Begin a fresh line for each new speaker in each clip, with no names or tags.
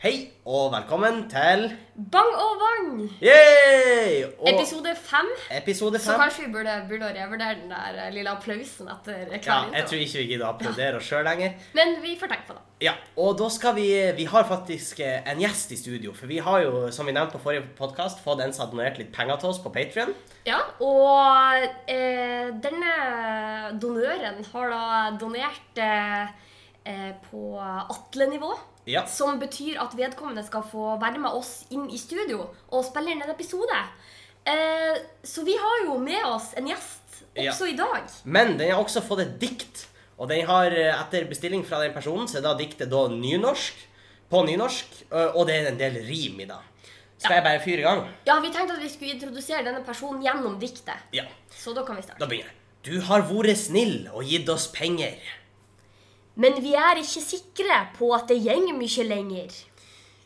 Hei, og velkommen til
Bang og vann!
Yay! Og
Episode fem.
episode
Så
fem.
kanskje vi burde, burde revurdere den der eh, lille applausen etter
Ja,
hver
jeg
intro.
tror ikke vi gidder å applaudere oss sjøl lenger.
Men vi får tenke på det.
Ja, og da skal vi Vi har faktisk eh, en gjest i studio. For vi har jo, som vi nevnte på forrige podkast, fått en som har donert litt penger til oss på Patrion.
Ja, og eh, denne donøren har da donert eh, eh, på Atle-nivå.
Ja.
Som betyr at vedkommende skal få være med oss inn i studio og spille inn en episode. Eh, så vi har jo med oss en gjest
Ja.
også i dag.
Men den har også fått et dikt. Og den har, eh, etter bestilling fra den personen, så er da diktet da nynorsk. På nynorsk. ø, Og det er en del rim i det. Skal jeg bare fyre i gang?
Ja, vi tenkte at vi skulle introdusere denne personen gjennom diktet.
Ja.
Så da kan vi starte.
Da begynner jeg. Du har vært snill og gitt oss penger.
Men vi er ikke sikre på at det gjeng mye lenger.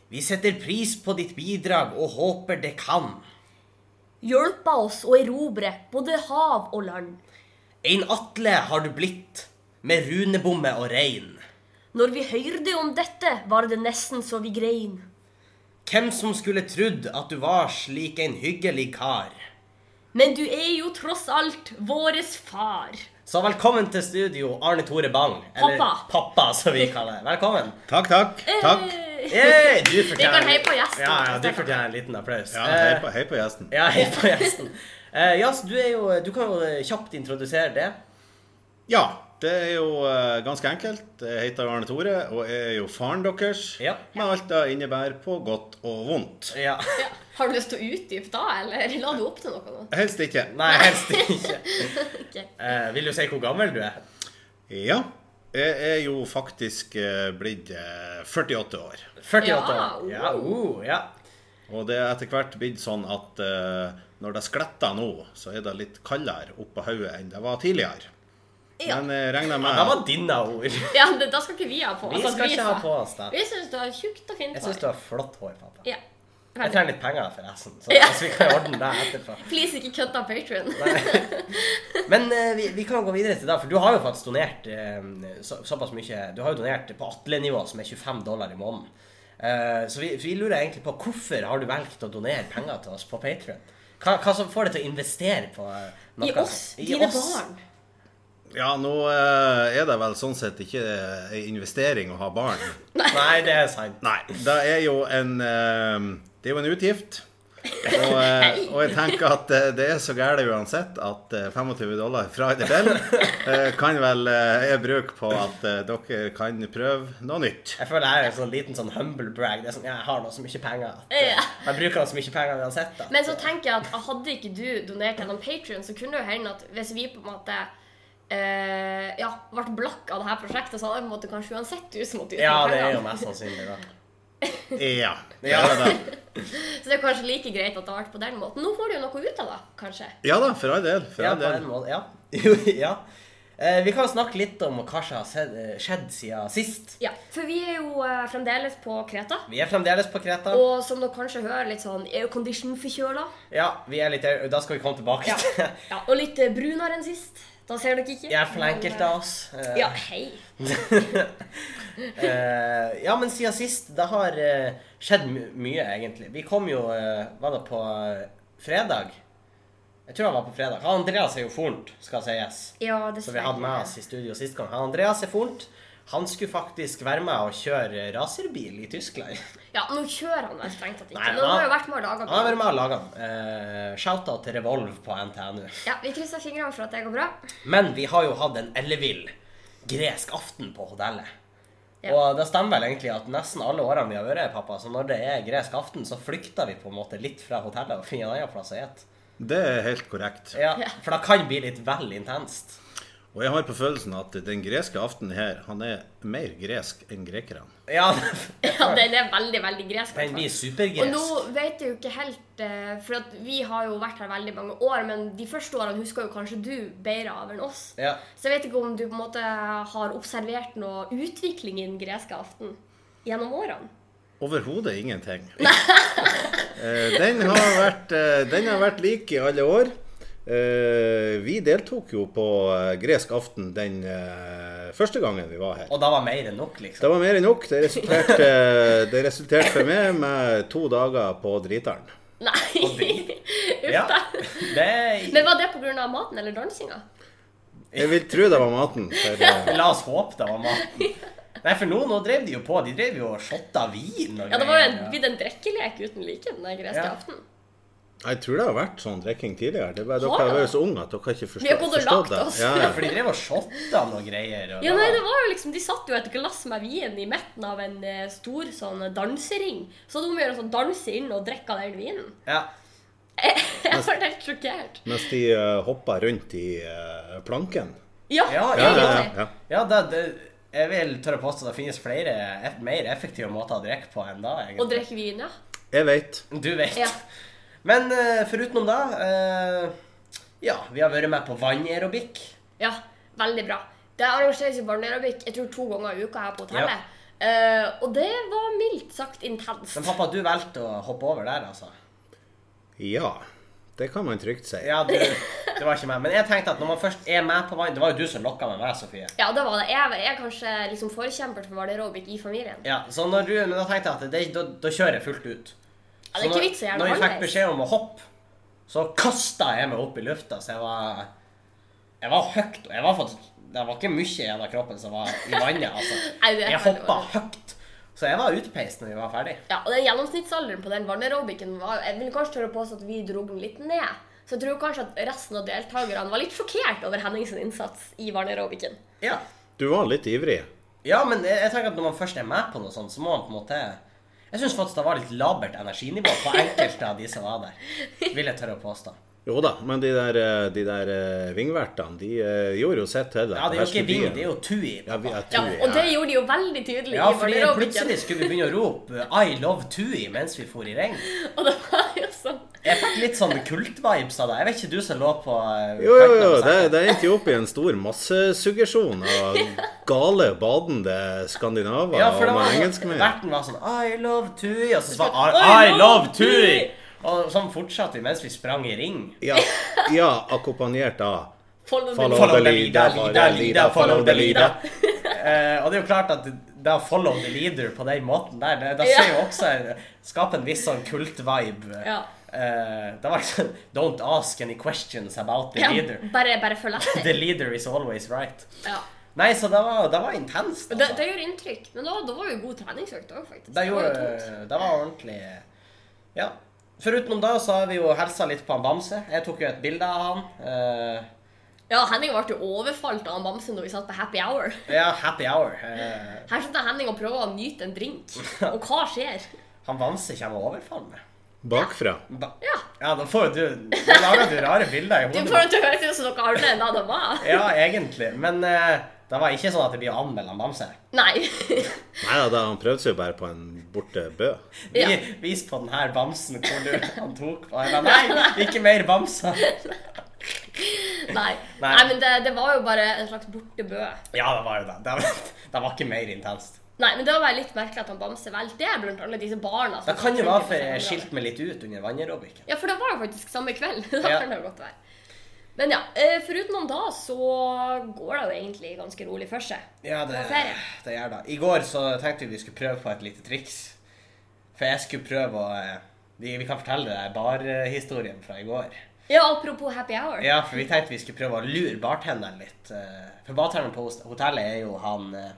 Vi setter pris på ditt bidrag og håper det kan.
Hjelpa oss å erobre både hav og land.
Ein Atle har du blitt, med runebomme og rein.
Når vi hørte om dette, var det nesten så vi grein.
Hvem som skulle trudd at du var slik en hyggelig kar.
Men du er jo tross alt våres far.
Så velkommen til studio, Arne Tore Bang.
Pappa.
Pappa, som vi kaller det. Velkommen.
Takk, takk. takk.
Eh,
Hey, du fortjener
Vi kan heie på gjesten.
Ja, ja, du fortjener en liten applaus.
Ja, hei på, hei på gjesten.
ja, hei på gjesten. Eh, ja, så du, er jo, du kan jo eh, kjapt introdusere det.
Ja, det er jo eh, ganske enkelt. Jeg heter Arne Tore og jeg er jo faren deres.
Ja.
Med alt det innebærer på godt og vondt.
Ja.
ja. Har du lyst til å utdype da, eller la du opp til noe nå?
Helst ikke.
Nei, helst ikke.
Ok.
Eh, vil du si hvor gammel du er?
Ja. Jeg er jo faktisk eh, blitt eh, 48 år.
48
Ja,
år. Ja, uh, ja.
Og det er etter hvert blitt sånn at eh, når det skletter nå, så er det litt kaldere oppå hodet enn det var tidligere.
Ja.
Men jeg regner med
Det var dine ord.
Ja, det, da skal ikke vi ha på.
Vi
altså,
skal ikke ha
sa-
på oss det.
Vi syns du har tjukt og fint
Jeg syns du
hår.
har flott hår, pappa.
Ja.
Jeg trenger litt penger, forresten. Så
Ja.
så vi kan ordne det etterpå.
Please, ikke kutt av Patron.
Men eh, vi, vi kan gå videre til det, for du har jo faktisk donert eh, så, såpass mye Du har jo donert på Atle-nivå, som er 25 dollar i måneden. Eh, så vi, vi lurer egentlig på hvorfor har du valgt å donere penger til oss på Patrion? Hva, hva som får deg til å investere på eh, noe
I oss,
som- i
dine
oss?
barn.
Ja, nå eh, er det vel sånn sett ikke eh, en investering å ha barn.
Nei, det er sant.
Nei, det er jo en eh, Det er jo en utgift. Og, eh, og jeg tenker at eh, det er så gærent uansett at eh, 25 dollar fra eller til eh, kan vel eh, jeg bruke på at eh, dere kan prøve noe nytt.
Jeg føler jeg er en sånn liten sånn humble brag. Det er sånn, Jeg har nå så mye penger. At, eh,
Ja.
Jeg bruker nå så mye penger uansett. Da.
Men så tenker jeg at hadde ikke du donert gjennom Patrion, så kunne det jo hende at hvis vi på en måte eh, ja, ble blakk av det her prosjektet, så hadde det på en måte kanskje uansett du som måtte ut med
ja, det er jo
pengene.
mest sannsynlig, da.
Ja. det
Ja.
er det.
Så det er kanskje like greit at det ble på den måten. Nå får du jo noe ut av det, kanskje.
ja da, for all del. For
Ja,
all
på en
del.
måte. Ja. Jo, ja. Eh, vi kan snakke litt om hva som har sett- eh, skjedd siden sist.
Ja, For vi er jo eh, fremdeles på Kreta.
Vi er fremdeles på Kreta.
Og som dere kanskje hører, litt sånn aircondition-forkjøla.
Ja, vi er litt eh, Da skal vi komme tilbake
Ja.
til
ja, og litt eh, brunere enn sist. Da ser dere ikke.
Jeg er for enkelt av oss. Eh,
Ja, hei.
eh, ja, men siden sist, det har eh, skjedd my mye, egentlig. Vi kom jo eh, Var det på eh, fredag? Jeg tror det var på fredag. Han Andreas er jo fornt, skal sies.
Ja,
Så vi hadde med oss i studio sist gang. Han Andreas er fornt. Han skulle faktisk være med og kjøre racerbil i Tyskland.
Ja, nå kjører han vel strengt tatt ikke.
Nei,
Nå har
da-
jo vært med og laga
Han har vært med og laga den. Eh, Shout-out til Revolve på NTNU.
Ja, vi krysser fingrene for at det går bra.
Men vi har jo hatt en ellevill gresk aften på hotellet.
Ja.
Og det stemmer vel egentlig at nesten alle årene vi har vært her, pappa, så når det er gresk aften, så flykter vi på en måte litt fra hotellet og finner en annen plass å spise.
Det er helt korrekt.
Ja,
Ja.
for det kan bli litt vel intenst.
Og jeg har på følelsen at den greske aften her, han er mer gresk enn grekerne.
Ja,
Ja, den er veldig, veldig gresk. altså.
den blir
hvertfall. Og nå
supergresk.
vet jeg jo ikke helt eh, For at vi har jo vært her veldig mange år, men de første årene husker jo kanskje du bedre av enn oss.
Ja.
Så jeg vet ikke om du på en måte har observert noe utvikling i den greske aften gjennom årene.
Overhodet ingenting. Eh, den, har vært, eh, den har vært lik i alle år. eh, vi deltok jo på eh, gresk aften den eh, første gangen vi var her.
Og da var mer enn nok, liksom.
Det var mer enn nok. Det resulterte, eh, det resulterte for meg med to dager på driteren.
Nei!
dritt.
Uff da.
Det er...
Men var det pga. maten eller dansinga?
Jeg vil tro det var maten. For, eh,
La oss håpe det var maten. Nei, for nå, nå drev de jo på. De drev jo og shotta vin og
Ja, det var jo en,
greier.
blitt en drekkelek uten like den der greske
Ja.
aften.
jeg tror det har vært sånn drikking tidligere. Det er bare,
Har
dere
det?
har vært så unge at dere har ikke forstå-
Vi har gått og
forstått
lagt
det.
oss.
Ja,
Ja,
ja.
for de drev og shotta noe greier. Og
Ja, nei, det var jo liksom, De satt jo et glass med vin i midten av en eh, stor sånn dansering. Så de gjør sånn danse inn og drikke av den vinen.
Ja.
Jeg var helt sjokkert.
Mens de uh, hoppa rundt i eh, planken.
Ja,
Ja, ja,
Ja, ja,
egentlig.
ja, ja.
Ja, da, det, jeg vil tørre å påstå det finnes flere eff- mer effektive måter å drikke på enn da. egentlig.
Og drikke vin, ja.
Jeg vet.
Du vet.
Ja.
Men uh, forutenom da eh, Ja, vi har vært med på vannaerobikk.
Ja, veldig bra. Det arrangeres jo barneaerobikk jeg tror to ganger i uka her på
Ja.
hotellet. Eh, og det var mildt sagt intenst.
Men pappa, du valgte å hoppe over der, altså.
Ja. Det kan man trygt si.
Ja, du, det var ikke meg. Men jeg tenkte at når man først er med på vann Det var jo du som lokka med meg, Sofie.
Ja, det var det. Jeg, var- jeg er kanskje liksom forkjemper for barneaerobikk i familien.
Ja, så når du, men da tenkte jeg at det, da, da kjører jeg fullt ut.
Ja, det er
Så når-
ikke vits å gjøre
Når
det
jeg fikk
annerledes.
beskjed om å hoppe, så kasta jeg meg opp i lufta, så jeg var Jeg var høyt. og Jeg var faktisk, det var ikke mye igjen av kroppen som var i vannet. altså.
Nei, det er
Jeg
veldig
hoppa
vanlig.
høyt. Så jeg var utpeist når vi var ferdig.
Ja, og den gjennomsnittsalderen på den barneaerobikken var Jeg vil kanskje tørre å påstå at vi dro den litt ned. Så jeg tror kanskje at resten av deltakerne var litt sjokkert over Hennings innsats i barneaerobikken.
Ja,
Du var litt ivrig.
ja men jeg, jeg tenker at når man først er med på noe sånt, så må man på en måte Jeg syns faktisk det var litt labert energinivå på enkelte av de som var der. Vil jeg tørre å påstå.
Jo da, men de der, eh, de der eh, vingvertene, de eh, gjorde jo sitt til det.
Ja, det er jo ikke
Herskebyen.
ving, det er jo tui.
Ja, vi,
Ja,
jeg tror,
Og det gjorde de jo veldig tydelig
Ja,
i
fordi
barneaerobikken.
plutselig skulle vi begynne å rope eh, 'I love Tui' mens vi for i ring.
Og det var jo sånn
Jeg fikk litt sånn kult-vibes av deg. Jeg vet ikke du som lå på eh,
Jo, jo, jo.
kanten av
Det,
sengen.
det endte jo opp i en stor massesuggesjon av gale, badende skandinaver
Ja, for det
og
var
med engelskmenn.
Verten var sånn 'I love Tui', og så sa
Så-
I, 'I love
Tui!»
Tui'. Og sånn fortsatte vi mens vi sprang i ring.
Ja, ja, akkompagnert av
Follow the
Follow
leader.
Follow
the
the leader,
leader, follow the leader, follow the leader.
Eh, og det er jo klart at det å follow the leader på den måten der, det, det
Ja.
ser jo også Skaper en viss sånn kult-vibe.
Ja.
Eh, det var sånn Don't ask any questions about the
Ja,
leader.
bare, bare følg etter.
The leader is always right.
Ja.
Nei, så det var, det var intenst.
Det,
Altså.
det gjør inntrykk. Men da, da var jo god treningsøkt òg, faktisk.
Det,
var
gjorde,
jo tungt.
det var ordentlig Ja. Foruten da så har vi jo helsa litt på han Bamse. Jeg tok jo et bilde av han. eh,
Ja, Henning ble jo overfalt av han bamsen da vi satt på happy hour.
ja, happy hour. Eh,
Her sitter Henning og prøver å nyte en drink. Og hva skjer?
han Bamse kommer og overfaller meg.
bakfra.
Ba
Ja.
ja, da får jo du Da lager du rare bilder i
Du
hodet.
får det til å høres ut som noe annet enn det det var.
Ja, egentlig. Men eh, det var ikke sånn at det blir å anmelde han Bamse.
Nei.
Nei da, han prøvde seg jo bare på en borte bø.
Vi,
Ja.
Vis på den her bamsen hvor du han tok på. Jeg ba, Nei, ikke mer bamser.
Nei.
Nei.
Nei, men det, det var jo bare en slags bortebø.
Ja, det var jo det. Det var, det var ikke mer intenst.
Nei, men det var bare litt merkelig at han Bamse valgte det blant alle disse barna. som
Det kan jo
trykket
være
på
for
seg
jeg
andre.
skilte meg litt ut under vannaerobikken.
Ja, for det var jo faktisk samme kveld. da
Ja.
kan det jo godt være. Men ja, eh, foruten om da, så går det jo egentlig ganske rolig for seg.
Ja, det,
Hva sier jeg?
det gjør det. I går så tenkte vi vi skulle prøve på et lite triks. For jeg skulle prøve å eh, Vi, vi kan fortelle deg barhistorien fra i går.
Ja, apropos happy hour.
Ja, for vi tenkte vi skulle prøve å lure bartenderen litt. eh, For bartenderen på hos- hotellet er jo han eh,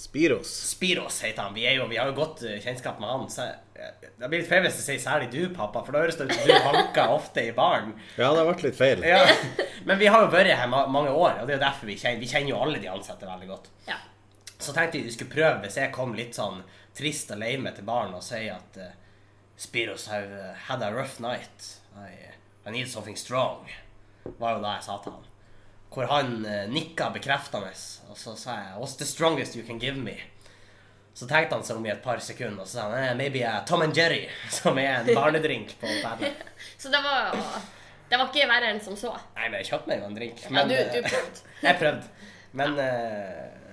Spiros.
Spiros heter han. Vi, er jo, vi har jo godt eh, kjennskap med han. Så eh, det blir litt feil hvis jeg sier særlig du, pappa, for da høres det ut som du vanker ofte i baren.
Ja, det har vært litt feil.
Ja. Men vi har jo vært her ma mange år, og det er jo derfor vi kjenner, vi kjenner jo alle de ansatte veldig godt.
Ja.
Så tenkte vi vi skulle prøve hvis jeg kom litt sånn trist og lei meg til baren og sier at eh, Spiros have eh, had a rough night. I, I need something strong. Var jo det jeg sa til han. Hvor han uh, nikka bekreftende, og så sa jeg What's the strongest you can give me? Så tenkte han seg om i et par sekunder, og så sa han eh, maybe a Tom and Jerry, som er en barnedrink på hotellet.
Så det var, det var ikke verre enn som så.
Nei, men jeg kjøpte meg jo en drink.
du-
eh,
du prøvde.
jeg prøvde. Men eh,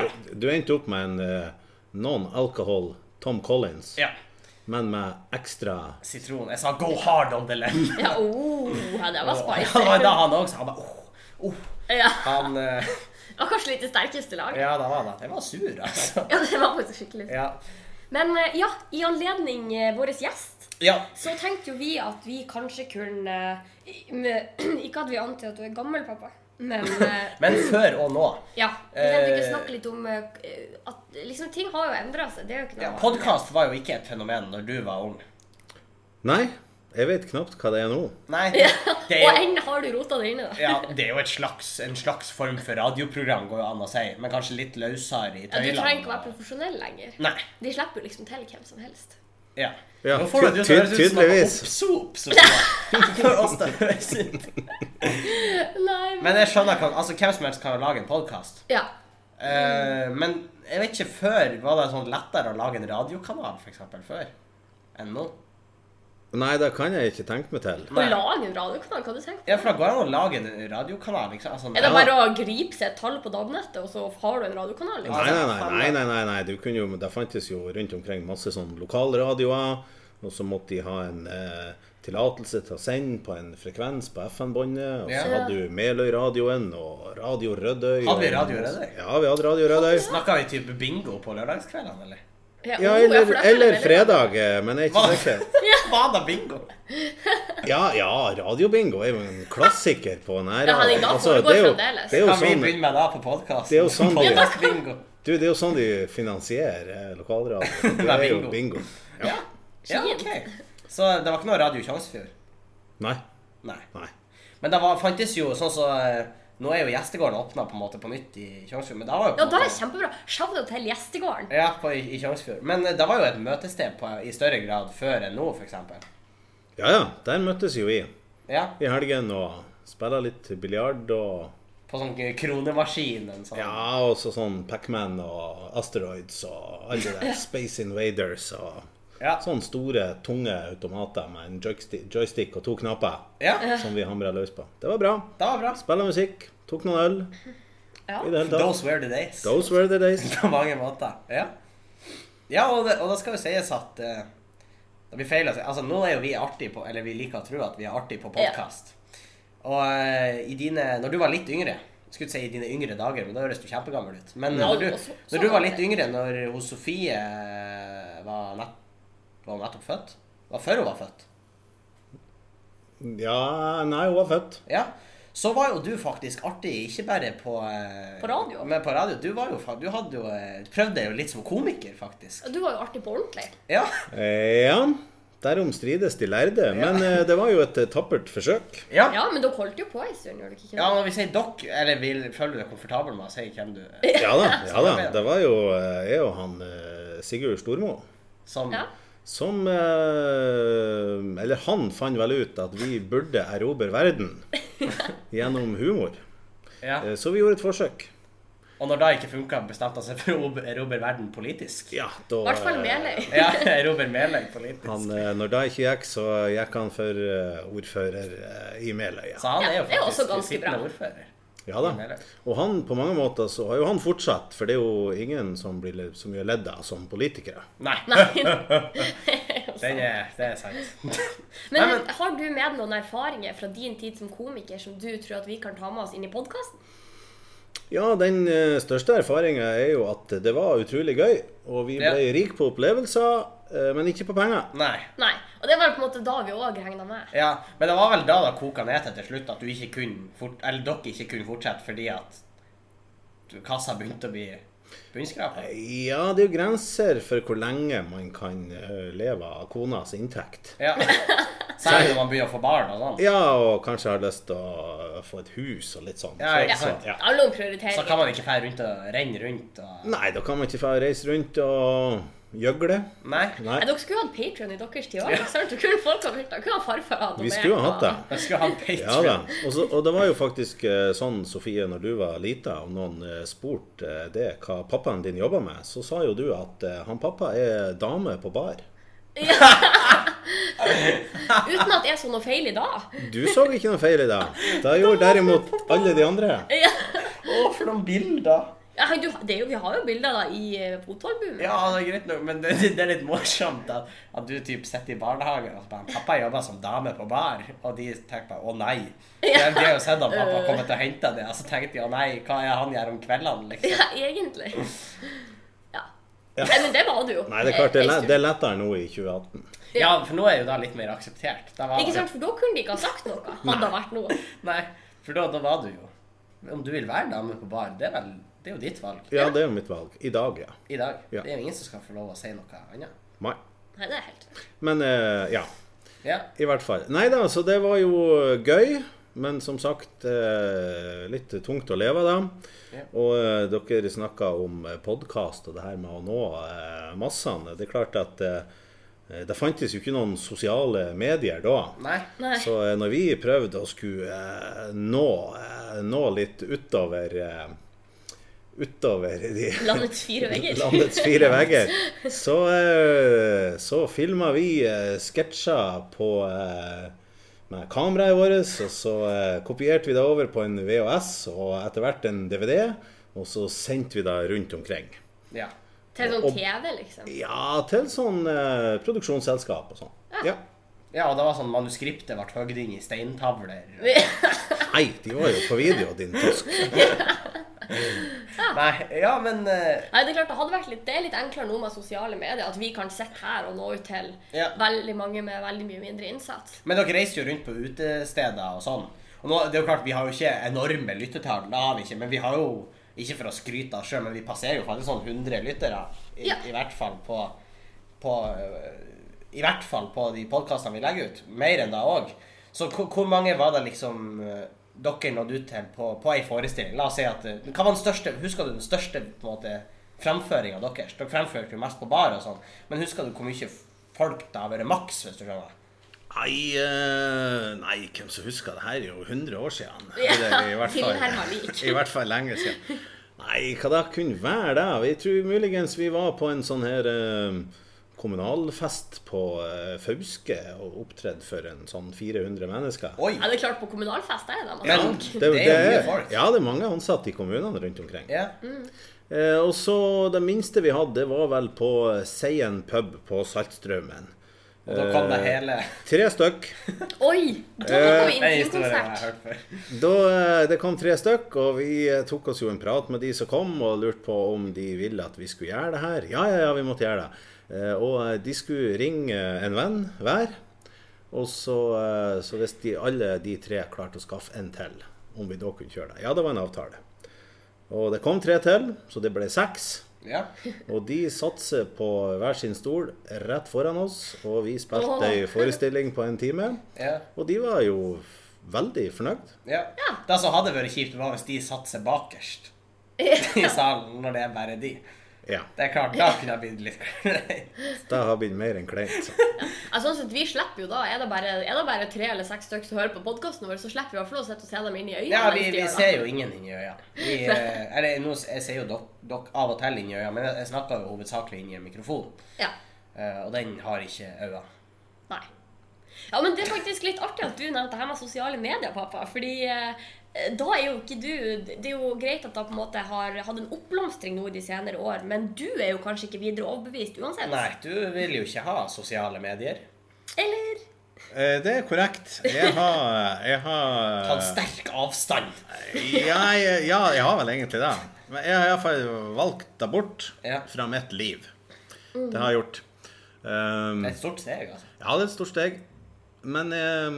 ja.
Du endte opp med en eh, non-alcohol Tom Collins.
ja.
men med ekstra
Sitron. Jeg sa 'go hard on the lemon'.
Ja, oh, ja, det var
Ja, det var da
spicy.
han også sa. Han bare, oh, oh.
Ja,
Han eh,
det var kanskje litt det sterkeste laget.
Ja, da var han det. Jeg var sur, altså.
Ja, det var faktisk skikkelig.
Ja.
Men eh, ja, i anledning eh, vår gjest,
ja.
så tenkte jo vi at vi kanskje kunne eh, med, Ikke at vi antar at du er gammel, pappa, men eh,
Men før og nå.
ja. Vi kan ikke
Eh,
snakke litt om eh, at liksom, ting har jo endra seg. Det er jo ikke
Ja,
noe
Podkast var jo ikke et fenomen når du var ung.
Nei, jeg vet knapt hva det er nå.
Nei, det,
Ja,
det
Og
er jo
enn har du rota det inne, da.
ja, det er jo et slags, en slags form for radioprogram, går jo an å si. Men kanskje litt løsere i
Ja, du
tøylene.
trenger ikke å være profesjonell lenger.
Nei.
De slipper jo liksom til hvem som helst.
Ja.
Ja,
Nå får du det til å
tyd-
høres ut som noe
tydeligvis.
oppsop. som det- sånn. For oss det høres ut.
Nei,
Men jeg skjønner hva, altså, hvem som helst kan jo lage en podkast.
Ja.
Eh, men jeg vet ikke før Var det sånn lettere å lage en radiokanal, for eksempel, før? Enn nå?
Nei, det kan jeg ikke tenke meg til.
Å
Nei.
lage en radiokanal, hva du tenker du?
Ja, for det går an å lage en radiokanal, liksom. Altså,
Er det
ja.
bare å gripe seg et tall på DAB-nettet, og så har du en radiokanal? Liksom?
Nei, nei, nei. nei, nei, nei, nei. Du kunne jo, Det fantes jo rundt omkring masse sånn lokalradioer, og så måtte de ha en eh, tillatelse til å sende på en frekvens på FN-båndet, og så
Ja.
hadde du Meløy-radioen og Radio Rødøy.
Hadde vi
og-
Radio Rødøy?
Ja, vi hadde Radio Rødøy.
Snakka vi type bingo på lørdagskveldene, eller?
oh,
Ja,
for det
eller,
føler jeg
eller
veldig-
fredag, eh, men jeg er
Hva?
ikke sikker.
Var det bingo?
Ja, ja, radiobingo er jo en klassiker på nære.
Ja, Henning, da foregår
det er jo,
fremdeles.
det er jo
Kan vi
sånn,
begynne med det på podkasten?
Det er jo sånn de-
bingo.
du, det er jo sånn de finansierer eh, lokalradio.
Det
Det
er
er jo
bingo.
bingo. Ja.
Ja,
Fint.
ok. Så det var ikke noe Radio Tjongsfjord?
Nei.
Nei.
Nei.
Men det var, fantes jo sånn så eh, Nå er jo gjestegården åpna på en måte på nytt i Tjongsfjord, men da var jo på
Ja,
en
da er det
måte-
kjempebra. Shout out til gjestegården.
ja, på, i i Tjongsfjord. Men eh, det var jo et møtested på, i større grad før enn nå, f.eks.
Ja, ja, der møttes jo vi
Ja,
i helgen og spilla litt biljard og
på sånn kronemaskin. En sånn.
Ja, og så sånn Pacman og Asteroids og alle de der Space Invaders og
Ja.
sånne store, tunge automater med en joystick, joystick og to knapper
ja.
som vi hamra løs på. Det var bra.
Det var bra.
Spilla musikk, tok noen øl.
Ja.
I det hele tatt.
Those were the days.
Those were the days.
På mange måter. Ja, ja og, det, og da skal jo sies at eh, det blir feil å si Altså, nå er jo vi artige på Eller vi liker å tro at vi er artige på podkast. Og eh, i dine Når du var litt yngre skulle ikke si i dine yngre dager, men da høres du kjempegammel ut. Men
Ja,
når,
og
du,
så-
når
sånn
du var
er
litt
det.
yngre, når hun Sofie var, nett, var hun nettopp født Var før hun var født.
Ja, nei, hun var født.
Ja. Så var jo du faktisk artig, ikke bare på eh,
På radio.
Men på radio. Du, var jo, fa- du hadde jo, eh, prøvde deg jo litt som komiker, faktisk.
Ja, Du var jo artig på ordentlig.
Ja.
Eh, Ja, derom strides de lærde. Men eh, det var jo et eh, tappert forsøk.
ja.
Ja, men dere holdt jo på en stund, gjorde dere ikke
Ja,
det?
når vi sier dokk, eller vil, føler du deg komfortabel med å si hvem du er
Ja da, ja da. Det var jo eh, jeg og han eh, Sigurd Stormo
som
Ja.
som eh, Eller han fant vel ut at vi burde erobre verden gjennom humor.
Ja.
Eh, Så vi gjorde et forsøk.
Og når det ikke funka, bestemte han seg for å ob- erobre verden politisk.
Ja, da
I hvert fall
eh,
Meløy.
Ja, erobre Meløy politisk.
han, eh, Når det ikke gikk, så gikk han for eh, ordfører eh, i Meløy.
Så han
Ja,
er jo
det er
faktisk
også ganske
sittende
bra.
ordfører.
Ja da.
Meløy.
Og han, på mange måter, så har jo han fortsatt, for det er jo ingen som blir le- så mye ledd av som politikere.
Nei,
Nei.
den er, det er sant. Nei,
Men
men-
har du med noen erfaringer fra din tid som komiker som du tror at vi kan ta med oss inn i podkasten?
Ja, den eh, største erfaringa er jo at det var utrolig gøy, og vi
Ja.
ble rike på opplevelser, eh, men ikke på penger.
Nei.
Nei. Og det var på en måte da vi òg regna med.
Ja, men det var vel da det koka ned til til slutt at du ikke kunne fort, eller dere ikke kunne fortsette fordi at du- kassa begynte å bli bunnskrapa.
Ja, det er jo grenser for hvor lenge man kan eh, leve av konas inntekt.
Ja. Særlig når man begynner å få barn og sånn.
Ja, og kanskje har lyst til å få et hus og litt sånn.
Ja, ikke
Ja.
så,
sant.
ja.
Alle om
Så kan
prioriteringer.
man ikke fære rundt og renne rundt og
Nei, da kan man ikke få reise rundt og gjøgle.
Nei.
Nei.
Nei, dere skulle jo hatt Patreon i deres tid òg. Kunne folk ha brukt det? Kunne ha farfar hatt
Vi skulle ha hatt det.
Jeg skulle ha en Patreon.
Ja da. Og, så, og det var jo faktisk eh, sånn, Sofie, når du var lita, om noen eh, spurte eh, det hva pappaen din jobba med, så sa jo du at eh, han pappa er dame på bar.
Uten at jeg så noe feil i dag.
Du så ikke noe feil i det. Det gjorde derimot alle de andre.
Ja.
Å, for noen bilder!
Ja, du, det er jo, vi har jo bilder da i eh, fotballbuen.
Ja, det er greit nok, men det, det er litt morsomt at, at du typ sitter i barnehagen og så bare Pappa jobber som dame på bar, og de tenker bare å nei. De, de har jo sett at pappa kommer til å hente det, og så tenkte de å nei, hva er han gjør om kveldene, liksom.
Ja, egentlig. Ja. Nei, men det var det jo.
Nei, det er klart, det er,
Ei
lett,
stund.
det er lettere nå i 2018.
Ja, for nå er jo det litt mer akseptert. Da var
Ikke sant, for da kunne de ikke ha sagt noe, hadde det vært noe.
Nei, for da, da var du jo Om du vil være dame på bar, det er vel det er jo ditt valg
Ja, det er jo mitt valg. I dag, ja.
i dag.
Ja.
Det er jo ingen som skal få lov å si noe annet.
Mai.
Nei, det er helt rett.
Men eh, ja,
Ja.
i hvert fall. Nei da, så det var jo gøy. Men som sagt, eh, litt tungt å leve av da.
Ja.
Og eh, dere snakka om podkast og det her med å nå eh, massene. Det er klart at eh, det fantes jo ikke noen sosiale medier da.
Nei.
Nei.
Så eh, når vi prøvde å skulle eh, nå, eh, nå litt utover eh, Utover de
Landets fire vegger.
landets fire vegger, så, eh, så filma vi eh, sketsjer på eh, med kameraet vårt, og så eh, kopierte vi det over på en VHS og etter hvert en DVD, og så sendte vi det rundt omkring.
Ja.
Til sånn
Og-
TV, liksom.
Ja, til sånn eh, produksjonsselskap og sånn. Ja.
ja, og det var sånn manuskriptet ble høgd inn i steintavler.
Nei, de var jo på video, din tosk.
Nei, ja, men eh,
Nei, Det er klart, det hadde vært litt, det er litt enklere nå med sosiale medier, at vi kan sitte her og nå ut til
Ja.
veldig mange med veldig mye mindre innsats.
Men dere reiser jo rundt på utesteder og sånn. Og nå, det er jo klart, Vi har jo ikke enorme lyttetall, det har vi ikke, men vi har jo Ikke for å skryte av sjøl, men vi passerer jo faktisk sånn 100 lyttere. I,
Ja.
i hvert fall på, på øh, I hvert fall på de podkastene vi legger ut. Mer enn det òg. Så hvor, hvor mange var det liksom øh, dere nådde ut til på, på ei forestilling? La oss si at øh, Hva var den største Husker du den største på en måte framføringa deres? Dere fremførte jo mest på bar og sånn, men husker du hvor mye folk det har vært maks, hvis du skjønner?
Nei, eh, nei, hvem som husker det her er jo 100 år siden.
Ja,
Eller i, hvert
til Herman
fall,
Vik.
I hvert fall lenge siden. Nei, hva da kunne være det? Vi tror muligens vi var på en sånn her eh, kommunalfest på eh, Fauske og opptredde for en sånn 400 mennesker.
Oi!
Ja, det er klart, på kommunalfest er det da,
Men-
men
det
Det,
er jo mye
er-
folk.
Ja, det er mange ansatte i kommunene rundt omkring.
Ja.
Eh, og så det minste vi hadde, det var vel på Seien pub på Saltstraumen.
Og da kom det hele
Tre stykk.
Oi! Da
Eh,
tok vi
Den historien jeg har
intimkonsert.
hørt før.
Da, eh, det kom tre stykk, og vi eh, tok oss jo en prat med de som kom, og lurte på om de ville at vi skulle gjøre det her. Ja, ja, ja, vi måtte gjøre det. Eh, Og eh, de skulle ringe eh, en venn hver. Og så, eh, så hvis de, alle de tre klarte å skaffe en til, om vi da kunne kjøre det. Ja, det var en avtale. Og det kom tre til, så det ble seks.
Ja.
Og de satser på hver sin stol rett foran oss, og vi
Åh.
spilte ei forestilling på en time.
Ja.
Og de var jo veldig fornøyd.
Ja. Det som hadde vært kjipt, var hvis de satte seg bakerst i salen når det er bare de.
Ja.
Det er klart, da kunne jeg blitt litt kleint.
Det har blitt mer enn kleint.
Ja, sånn sett, vi slipper jo da, er det bare, er det bare tre eller seks stykker som hører på podkasten vår, så slipper vi i hvert fall å sitte og se dem inn i øynene.
Ja, vi,
mens de
vi
gjør det.
ser jo ingen inn i øya. Vi, eh, eller nå, s- jeg ser jo dere dere av og til inn i øya, men jeg jeg snakker jo hovedsakelig inn i en mikrofon.
Ja.
Eh, Og den har ikke øyne.
Nei. Ja, men det er faktisk litt artig at du nevnte det her med sosiale medier, pappa. Fordi eh, da er jo ikke du Det er jo greit at da på en måte har hatt en oppblomstring nå i de senere år, men du er jo kanskje ikke videre overbevist uansett?
Nei, du vil jo ikke ha sosiale medier.
Eller?
Eh, Det er korrekt. Jeg har, jeg
Ta
har
en sterk avstand.
ja, jeg, ja, jeg har vel egentlig det. Men jeg har iallfall valgt det bort
Ja.
fra mitt liv. Det har jeg gjort. Um,
Det er et stort steg, altså.
ja, det er et stort steg. Men eh,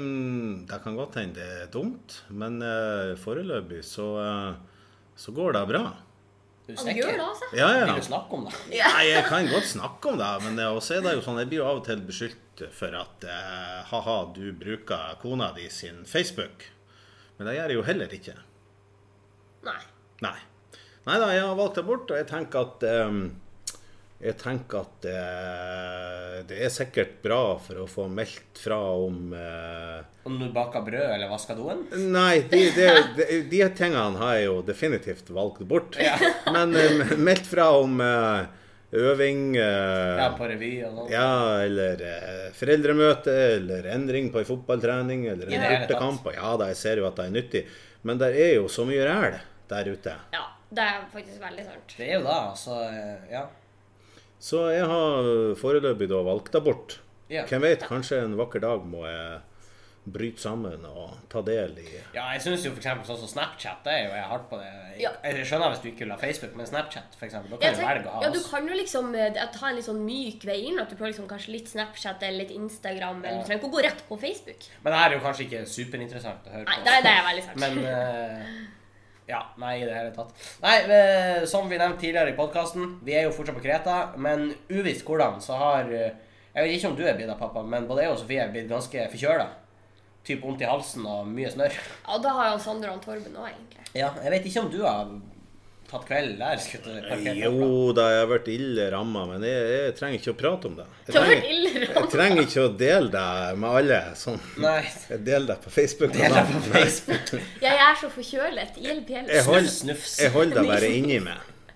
det kan godt hende det er dumt. Men eh, foreløpig så, eh, så går det bra.
Er Du
Ja, du gjør det, altså?
Ja, ja.
Vil du snakke om det?
Nei, jeg kan godt snakke om det, men det- også er det jo sånn, jeg blir jo av og til beskyldt for at eh, ha-ha, du bruker kona di sin Facebook. Men det gjør jeg jo heller ikke.
Nei.
Nei. Nei da, jeg har valgt det bort, og jeg tenker at eh, jeg tenker at eh, det er sikkert bra for å få meldt fra om eh,
Om du baker brød eller vasker doen?
Nei, de, de, de, de tingene har jeg jo definitivt valgt bort.
Ja.
Men eh, meldt fra om eh, øving eh,
Ja, på revy og sånn.
Ja, eller eh, foreldremøte, eller endring på en fotballtrening, eller
I
en
det hele tatt.
bortekamp. Og Ja da, jeg ser jo at det er nyttig, men der er jo så mye ræl der ute.
Ja. Det er faktisk veldig sant.
Det er jo da, altså eh, Ja.
Så jeg har foreløpig da valgt abort.
Ja.
Hvem vet, kanskje en vakker dag må jeg bryte sammen og ta del i
Ja, jeg syns jo for eksempel sånn som Snapchat, det er jo jeg er hardt på det. Jeg,
Ja.
jeg skjønner hvis du ikke vil ha Facebook, men Snapchat, for eksempel, da
Jeg
kan du
tenker-
velge å ha altså?
ja, du
oss.
kan jo liksom eh, ta en litt sånn myk vei inn. At du prøver liksom kanskje litt Snapchat eller litt Instagram. Eller,
Ja.
Du trenger ikke å gå rett på Facebook.
Men det her er jo kanskje ikke superinteressant å høre
Nei,
på.
det, er- det er veldig sant.
Men eh, Ja, nei, i det hele tatt. Nei, eh, som vi nevnte tidligere i podkasten, vi er jo fortsatt på Kreta, men uvisst hvordan, så har eh, Jeg vet ikke om du er blitt det, pappa, men både jeg og Sofie er blitt ganske forkjøla. Typ vondt i halsen og mye snørr.
Ja, da har jo Sander og han Torben òg, egentlig.
Ja, jeg vet ikke om du har tatt kvelden der. skulle jeg til å parkere pappa.
Jo da, jeg har vært ille ramma, men jeg, jeg trenger ikke å prate om det. Jeg
Det har vært
trenger,
ille
jeg trenger ikke å dele det med alle. Sånn.
Nei.
Jeg deler det på Facebook. og
Det er
da-
på Facebook.
Ja, jeg er så forkjølet. Hjelp, hjelp.
Jeg holder,
Snufs.
jeg holder det bare inni meg.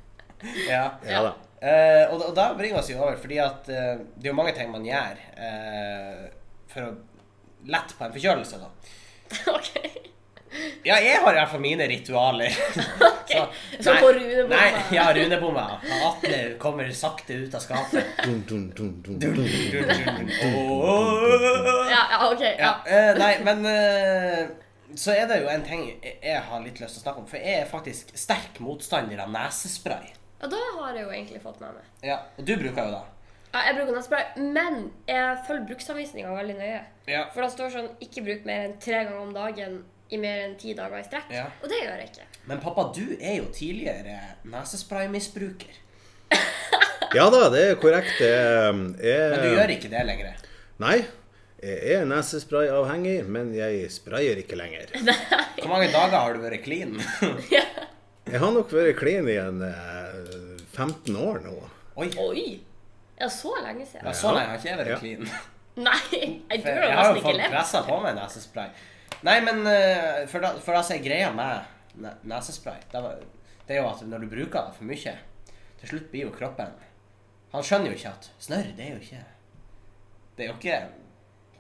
Ja.
Ja da.
Eh, og, da- og da bringer vi oss jo over, fordi at eh, det er jo mange ting man gjør eh, for å lette på en forkjølelse, da.
Ok.
Ja, jeg har i hvert fall mine ritualer.
okay. Så på Runebomma.
Nei, ja, runebomma. Atle kommer sakte ut av skapet.
Dun, dun, dun, dun, dun.
Dun, dun, dun. Åh.
Ja, ja, ok. Ja.
Ja, eh, nei, men eh, så er det jo en ting jeg- jeg har litt lyst til å snakke om, for jeg er faktisk sterk motstander av nesespray.
ja, da har jeg jo egentlig fått med meg.
Ja, og du bruker jo det.
Ja, jeg bruker nesespray, men jeg følger bruksanvisninga veldig nøye.
Ja.
For det står sånn 'ikke bruk mer enn tre ganger om dagen' i mer enn ti dager i strekk.
Ja.
Og det gjør jeg ikke.
Men pappa, du er jo tidligere nesespraymisbruker.
Ja da, det er korrekt. Jeg, jeg,
Men du gjør ikke det lenger.
Nei. Jeg er nesesprayavhengig, men jeg sprayer ikke lenger.
Hvor mange dager har du vært clean?
Jeg har nok vært clean i en eh, 15 år nå.
Oi.
Oi! Ja, så lenge
Ja,
siden?
så lenge har ikke jeg vært
Ja.
clean.
Nei! Jeg
For
tror
jeg
jeg
har
nesten
jo
ikke
fått
levd.
pressa på meg nesespray. Nei, men eh, for da, for da så er greia med ne- nesespray det, var- det er jo at når du bruker det for mye, til slutt blir jo kroppen Han skjønner jo ikke at snørr, det er jo ikke Det er jo ikke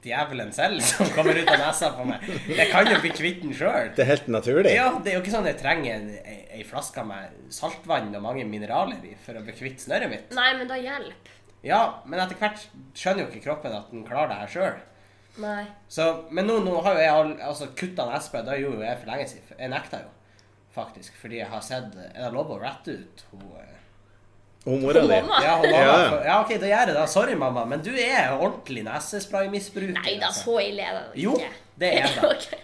djevelen selv som kommer ut av nesa på meg. Jeg kan jo bli kvitt den sjøl.
Det er helt naturlig.
Ja, det er jo ikke sånn at jeg trenger en- ei ei flaske med saltvann og mange mineraler i for å bli kvitt snørret mitt.
Nei, men da hjelp.
Ja, men etter hvert skjønner jo ikke kroppen at den klarer det her sjøl.
Nei.
Så, men nå, nå har jo jeg all- altså, kutta nesespray. Det gjorde jo jeg for lenge siden. Jeg nekta jo, faktisk. Fordi jeg har sett Er det lov å rette ut hun eh,
Og mora di.
Mamma.
Ja, hun mamma.
Ja.
for- Ja, OK, da gjør jeg det. Sorry, mamma, men du er ordentlig nesespraymisbruker.
Nei da,
altså.
så ille er det
Jo, det er det.
Ok.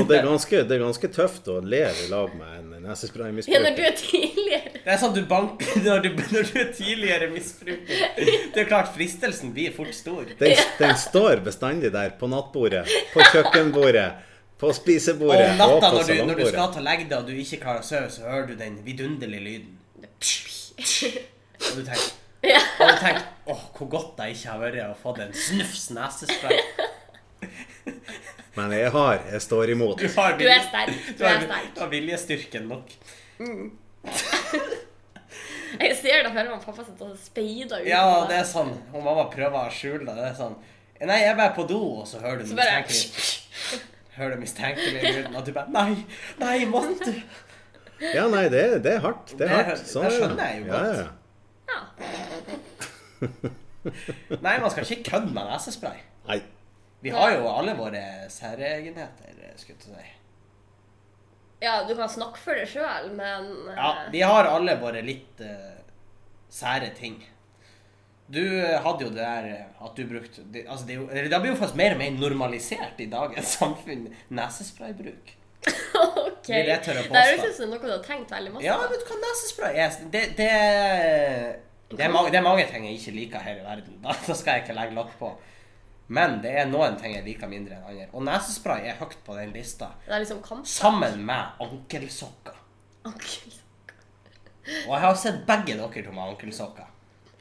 Og det er, ganske, det er ganske tøft å leve i lag med en
Ja, når du
nesespraymisbruker.
er tidligere
Det er sånn du banker når du, når du er tidligere misbruker. Det er klart, fristelsen blir fort stor.
Den, den står bestandig der på nattbordet, på kjøkkenbordet, på
Og
spisebordet
om
og
natta
på
når du, når du skal
salongbordet.
til å legge deg og du ikke klarer å sove, så hører du den vidunderlige lyden. Og du tenker Og du tenker åh, hvor godt det ikke har vært å få en snufs nesespray.
Men jeg har, jeg står imot.
Du, har
Du er sterk. Du
har-
er sterk.
Du har viljestyrken nok.
Jeg ser det for meg pappa sitter og speider ut.
Ja, det er sånn. Og mamma prøver å skjule det. Det er sånn Nei, jeg er bare på do, og så hører du
Så bare
mistenkelig Hører du mistenkelig lyden, og du bare Nei, nei, måtte du?
Ja, nei, det, er- det er hardt. Det er
Det-
hardt.
det
er
skjønner jeg jo
Ja,
godt.
ja.
Ja.
Nei, man skal ikke kødde med nesespray.
Nei.
Vi har jo alle våre særegenheter, skulle jeg til å si.
ja, du kan snakke for deg sjøl, men eh,
Ja, vi har alle våre litt eh, sære ting. Du eh, hadde jo det der eh, at du brukte det, altså det, er jo- eller det blir jo faktisk mer og mer normalisert i dagens samfunn, nesespraybruk.
Ok.
Vil jeg tørre å
Det
påstå?
høres ut som noe du har tenkt veldig masse
Ja,
på.
vet du hva nesespray er? Det, det, det, er mange, det er mange ting jeg ikke liker her i verden. Da, da skal jeg ikke legge lokk på. Men det er noen ting jeg liker mindre enn andre. Og nesespray er høyt på den lista.
Det er liksom kamp.
Sammen med ankelsokker.
Onkel.
Og jeg har sett begge dere to med ankelsokker.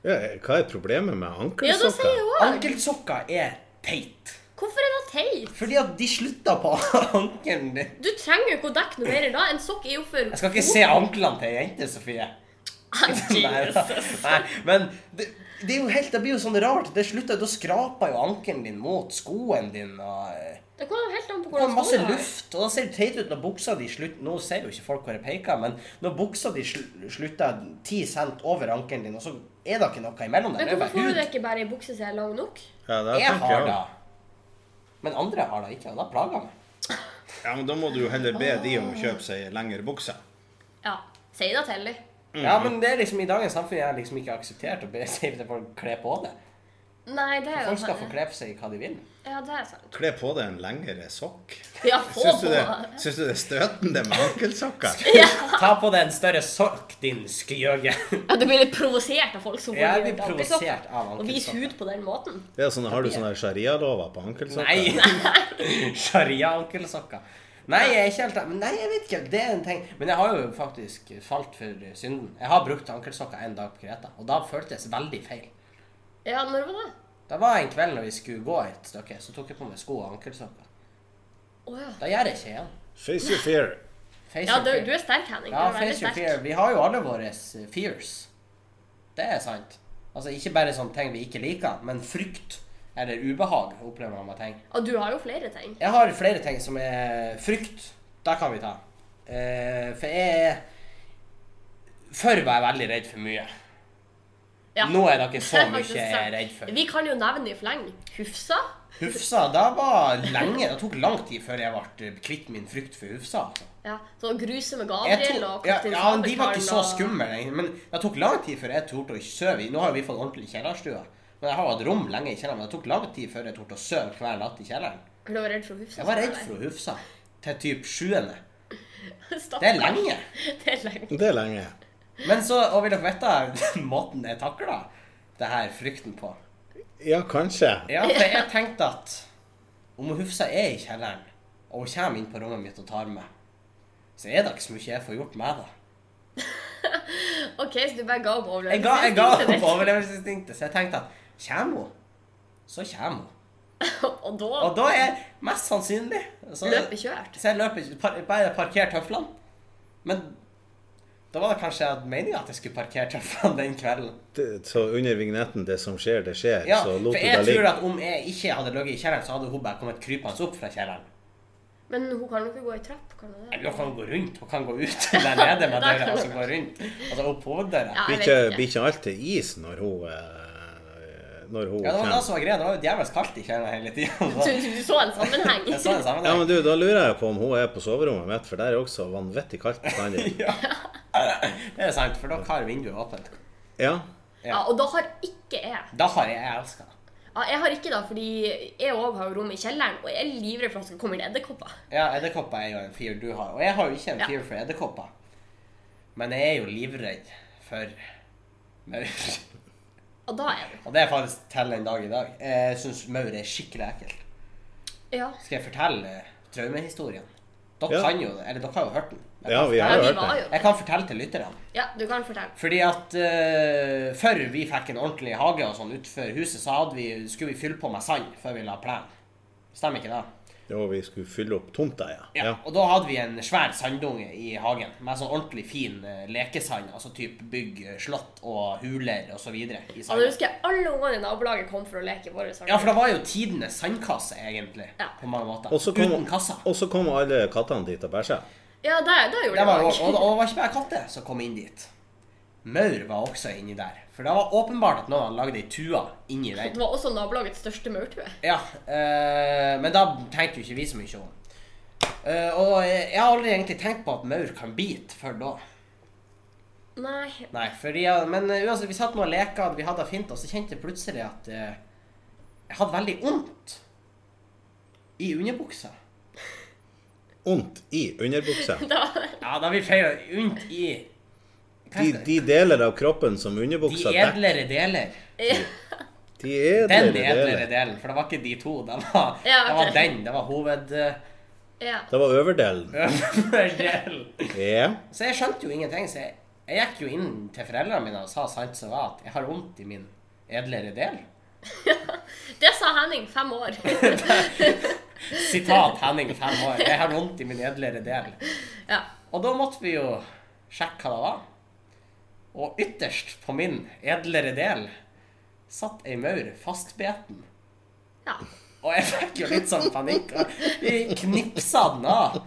Ja, hva er problemet med
Ja, da sier
ankelsokker?
jeg òg.
Ankelsokker er teit.
Hvorfor er det teit?
Fordi at de slutter på ankelen din.
Du trenger jo ikke å dekke noe mer da. En sokk er jo for
Jeg skal ikke se anklene til ei jente, Sofie.
Ah,
Nei, da. Nei, men det, det, er jo helt, det blir jo sånn rart. Det slutter, Da skraper jo ankelen din mot skoen din. og eh,
Det kommer jo helt an på
Det kommer
hvordan
masse
skoene er.
luft, og da ser det teit ut når buksa di slutt, Nå ser jo ikke folk hvor jeg peker, men når buksa di sl- slutter 10 cent over ankelen din, og så er det ikke noe imellom der.
Men
Det er
hvorfor får
bare
du det
hud.
ikke bare i bukse som er lang nok?
Ja, det
Jeg
tenker
har
jeg
det.
også.
Men andre har det ikke, og da plager jeg meg.
Ja, men da må du jo heller be de om å
Ah.
kjøpe seg lengre bukser.
Ja. Si det til dem.
Mm.
Ja, men det er liksom i dagens samfunn jeg har liksom ikke akseptert å be si til folk kle på det.
Nei, det er jo sånn-
Folk skal få kle på seg hva de vil.
Ja, det er sant.
Kle på deg en lengre sokk.
Ja, få
Syns du,
på!
det, syns du det er støtende med ankelsokker?
Ta på deg en større sokk, din skjøge.
Ja, du blir litt provosert av folk som går
Jeg
i
blir
dampesokker.
provosert av ankelsokker.
Og viser hud på den måten.
Det er sånn, har du sånne sharialover på ankelsokker?
Nei! Sharia-ankelsokker. Nei, jeg er ikke helt men Nei, jeg vet ikke. Det er en ting. Men jeg har jo faktisk falt for synden. Jeg har brukt ankelsokker en dag på Kreta, og da føltes veldig feil.
Ja, når var det?
Det var en kveld når vi skulle gå et stykke, så tok jeg på meg sko og ankelsokker.
Å ja.
Da gjør jeg ikke igjen.
Face your fear.
Face
Ja,
your
du,
fear.
du er sterk, Henning. Du
Ja,
er veldig
face your
sterk.
fear. Vi har jo alle våre eh, fears. Det er sant. Altså ikke bare sånne ting vi ikke liker, men frykt eller ubehag opplever man med ting.
Og du har jo flere ting.
Jeg har flere ting som er frykt. Da kan vi ta. Eh, for jeg er Før var jeg veldig redd for mye.
Ja.
Nå er det ikke så
Det er
mye
faktisk
jeg er
sant.
redd for.
Vi kan jo nevne i fleng. Hufsa.
Hufsa, det var lenge. Det tok lang tid før jeg ble kvitt min frykt for hufsa. altså.
Ja, så gruse med
Jeg
Gabriel
tok,
og
ja,
Kaptein
ja, men de var
Sabeltann
ikke så
og-
skumle, egentlig, men det tok lang tid før jeg torde å sove. i- Nå har vi fått ordentlig kjellerstue. Men jeg har hatt rom lenge i kjelleren, men det tok lang tid før jeg torde å sove hver natt i kjelleren.
Du var redd for Hufsa?
Jeg var redd
sa
for å hufse til typ sjuende.
jeg. Stakkars.
Det er lenge.
Det er lenge.
Det er lenge.
Men så, og vil dere vite måten jeg takla det her frykten på?
Ja, kanskje.
Ja, for jeg tenkte at om Hufsa er i kjelleren, og hun kommer inn på rommet mitt og tar meg, så er det ikke så mye jeg får gjort med det.
OK, så du bare ga opp
Jeg ga, jeg ga
overlevelsesinstinktet
opp overlevelsesinstinktet, så jeg tenkte at kommer hun, så kommer hun.
ditt. Og da
Og da er mest sannsynlig så,
løp i kjørt.
Så jeg løper ikke, par, bare parker tøflene. Men da var det kanskje meninga at jeg skulle parkere tøflene den kvelden.
Det- Så under vignetten 'Det som skjer, det skjer',
Ja,
så
for
lot du det
jeg tror
ligge.
at om jeg ikke hadde ligget i kjelleren, så hadde hun bare kommet krypende opp fra kjelleren.
Men hun kan jo ikke gå i trapp, kan hun det?
Eller hun kan gå rundt, hun kan gå ut der nede med
Der kan
døra og så
hun.
gå rundt. Altså opp hoveddøra.
Ja,
Blir
jeg
ikke,
vet
blir
ikke.
ikke alt til is når hun eh, Når hun
Ja, det var det
kommer.
som var greia. Det var jo djevelsk kaldt i kjelleren hele
Du,
tida.
du så en sammenheng.
Jeg så det samme.
Ja, men du, da lurer jeg på om hun er på soverommet mitt, for der er også vanvittig kaldt bestandig.
Det er sant, for da har vinduet åpent.
Ja.
Ja, og da har ikke jeg.
Da har jeg elska det.
Ja, jeg har ikke da, fordi jeg òg har jo rom i kjelleren, og jeg er livredd for at det skal komme inn edderkopper.
Ja, edderkopper er jo en fear du har. Og jeg har jo ikke en
Ja.
fear for edderkopper. Men jeg er jo livredd for maur.
Og da er det
Og det er faktisk til den dag i dag. Jeg syns maur er skikkelig ekkelt.
Ja.
Skal jeg fortelle eh, traumehistorien? Dere
Ja.
kan jo Eller dere har jo hørt den. Jeg
ja,
kan
vi
ja
har jo
vi
hørt
var
det.
jo
Jeg kan fortelle til lytterne.
Ja, du kan fortelle.
Fordi at eh, før vi fikk en ordentlig hage og sånn utenfor huset, så hadde vi, skulle vi fylle på med sand før vi la plen. Stemmer ikke det?
Jo, vi skulle fylle opp tomta, ja.
Ja.
ja.
Og da hadde vi en svær sanddunge i hagen med sånn ordentlig fin eh, lekesand. Altså type bygg, eh, slott og huler og så videre i
Og da
sanden.
husker jeg alle ungene i nabolaget kom for å leke i vår
Ja, for det var jo tidenes sandkasse, egentlig.
Ja.
På mange måter.
Og så kom,
Uten kassa.
og så kom alle kattene dit og bæsja.
Ja, det, det gjorde
Det var,
jeg
og,
også.
og, og det var ikke bare katter som kom inn dit. Maur var også inni der. For det var åpenbart at noen hadde lagd ei tue inni den.
Det var også nabolagets største maurtue.
Ja, eh, men da tenkte jo ikke vi så mye om. Eh, og jeg jeg har aldri egentlig tenkt på at maur kan bite før da.
Nei.
Nei, fordi, ja, men eh, uansett, vi satt nå og leka, vi hadde det fint, og så kjente jeg plutselig at eh, jeg hadde veldig vondt i underbuksa.
Ondt i underbuksa.
Da,
Ja, da har vi feil. Vondt i Hva
De,
heter det?
de deler av kroppen som
De
underbuksa dekker.
edlere deler.
De
Den
edlere
edlere
deler.
delen, for det var ikke de to. Det var,
Ja,
det
ok.
var den. Det var hoveddelen.
ja.
Det var overdelen. Ja.
Så jeg skjønte jo ingenting, så jeg, jeg gikk jo inn til foreldrene mine og sa sant som var at jeg har vondt i min edlere del.
Det sa Henning, fem år.
Sitat Henning fem år. Jeg har vondt i min edlere del.
Ja.
Og da måtte vi jo sjekke hva det var. og ytterst på min edlere del satt ei maur fastbeten.
Ja.
Og jeg fikk jo litt sånn panikk. og Vi knipsa den av.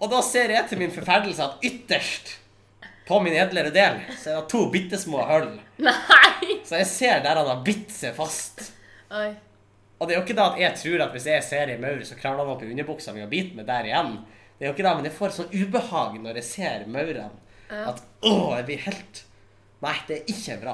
Og da ser jeg til min forferdelse at ytterst på min edlere del så er det to bitte små hull.
Nei!
Så jeg ser der han har bitt seg fast.
Oi.
Og det er jo ikke da at jeg tror at hvis jeg ser ei maur, så kravler han opp i underbuksa mi og biter meg der igjen. Det er jo ikke da, men jeg får sånn ubehag når jeg ser maurene. At å, jeg blir helt Nei, det er ikke bra.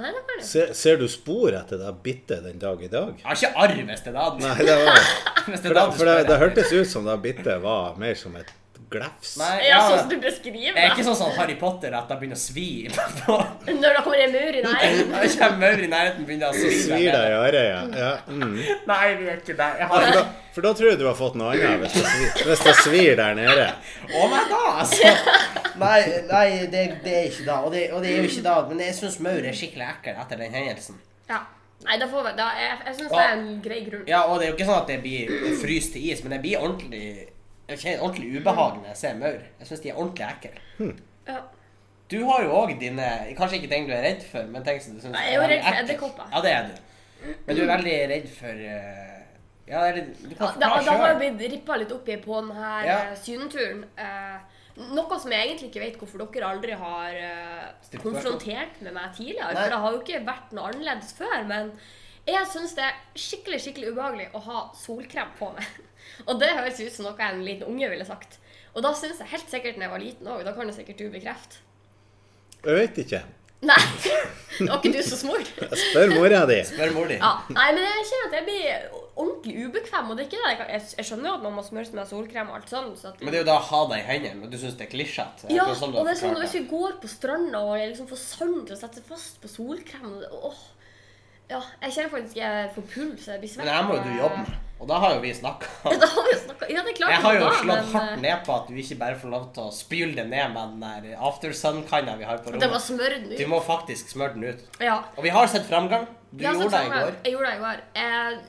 Nei, det var det.
Se, ser du spor etter deg bitte den dag i dag?
Jeg har ikke arv hvis det er da.
Nei, det var
Hvis det er da
For, det,
du
for det,
spør.
det hørtes ut som da bitte var mer som et glefs.
Nei,
Ja,
ja,
sånn som du beskriver
jeg er
det.
ikke sånn som Harry Potter at jeg begynner å svi på
Når det kommer en mur i nærheten.
Når det kommer maur i nærheten, begynner jeg å svi.
Svir deg i øret, ja. ja. Mm.
Nei, vi er ikke der. Jeg
Ja,
har...
For, da, for da tror jeg du har fått noe annet hvis det svir, hvis det svir der nede.
Å nei da, altså. Nei, nei det, det er ikke da. Og det, og det er jo ikke da. Men jeg syns maur er skikkelig ekkel etter den hendelsen.
Ja. Nei, da får vi da, Jeg, jeg syns det er en grei grunn.
Ja, og det er jo ikke sånn at det blir fryst til is, men det blir ordentlig jeg kjenner ordentlig ubehag når jeg ser maur. Jeg syns de er ordentlig ekle.
Ja.
Du har jo òg dine Kanskje ikke ting du er redd for, men ting som du syns
Nei, jeg er jo
veldig
redd for
ekkelt.
edderkopper.
Ja, det er du. Men du er veldig redd for eh, Ja, eller du kan
Da,
forklare
da har
sjøl.
jeg blitt rippa litt opp i på denne
Ja.
sydenturen. Eh, noe som jeg egentlig ikke vet hvorfor dere aldri har eh,
Stilt
konfrontert med meg tidligere.
Nei.
For det har jo ikke vært noe annerledes før. Men jeg syns det er skikkelig skikkelig ubehagelig å ha solkrem på meg. Og det høres ut som noe en liten unge ville sagt. Og da syns jeg helt sikkert når jeg var liten òg. Da kan det sikkert du bekrefte.
Jeg vet ikke.
Nei, det var ikke du som smor.
Spør mora di.
Spør mor di.
Ja, nei, men jeg kjenner at jeg blir ordentlig ubekvem. Og det er ikke det. Jeg, kan- jeg, jeg skjønner jo at man må smøre seg med solkrem og alt sånn. Så at,
Men det er jo da å ha deg i hendene, og du syns det er klisjete.
ja,
akkurat som du har
og det er sånn
forklart
når
det.
vi går på stranda og jeg liksom får sand til å sette seg fast på solkrem og det, åh. Ja, jeg kjenner faktisk jeg får puls. Jeg blir svett.
Men det her må jo
og-
du jobbe med, og da har jo vi snakka.
Ja, da har vi jo snakket- Ja, det er klart.
Jeg har jo
da,
slått
men,
hardt
eh,
ned på at du ikke bare får lov til å spyle det ned med den der after sun-kanna vi har på
Det var
rommet.
smørt
Du
nå.
må faktisk smøre den ut.
Ja.
Og vi har sett framgang. Du
Ja, så
gjorde det i
skjønner jeg-
går.
Jeg gjorde det i går.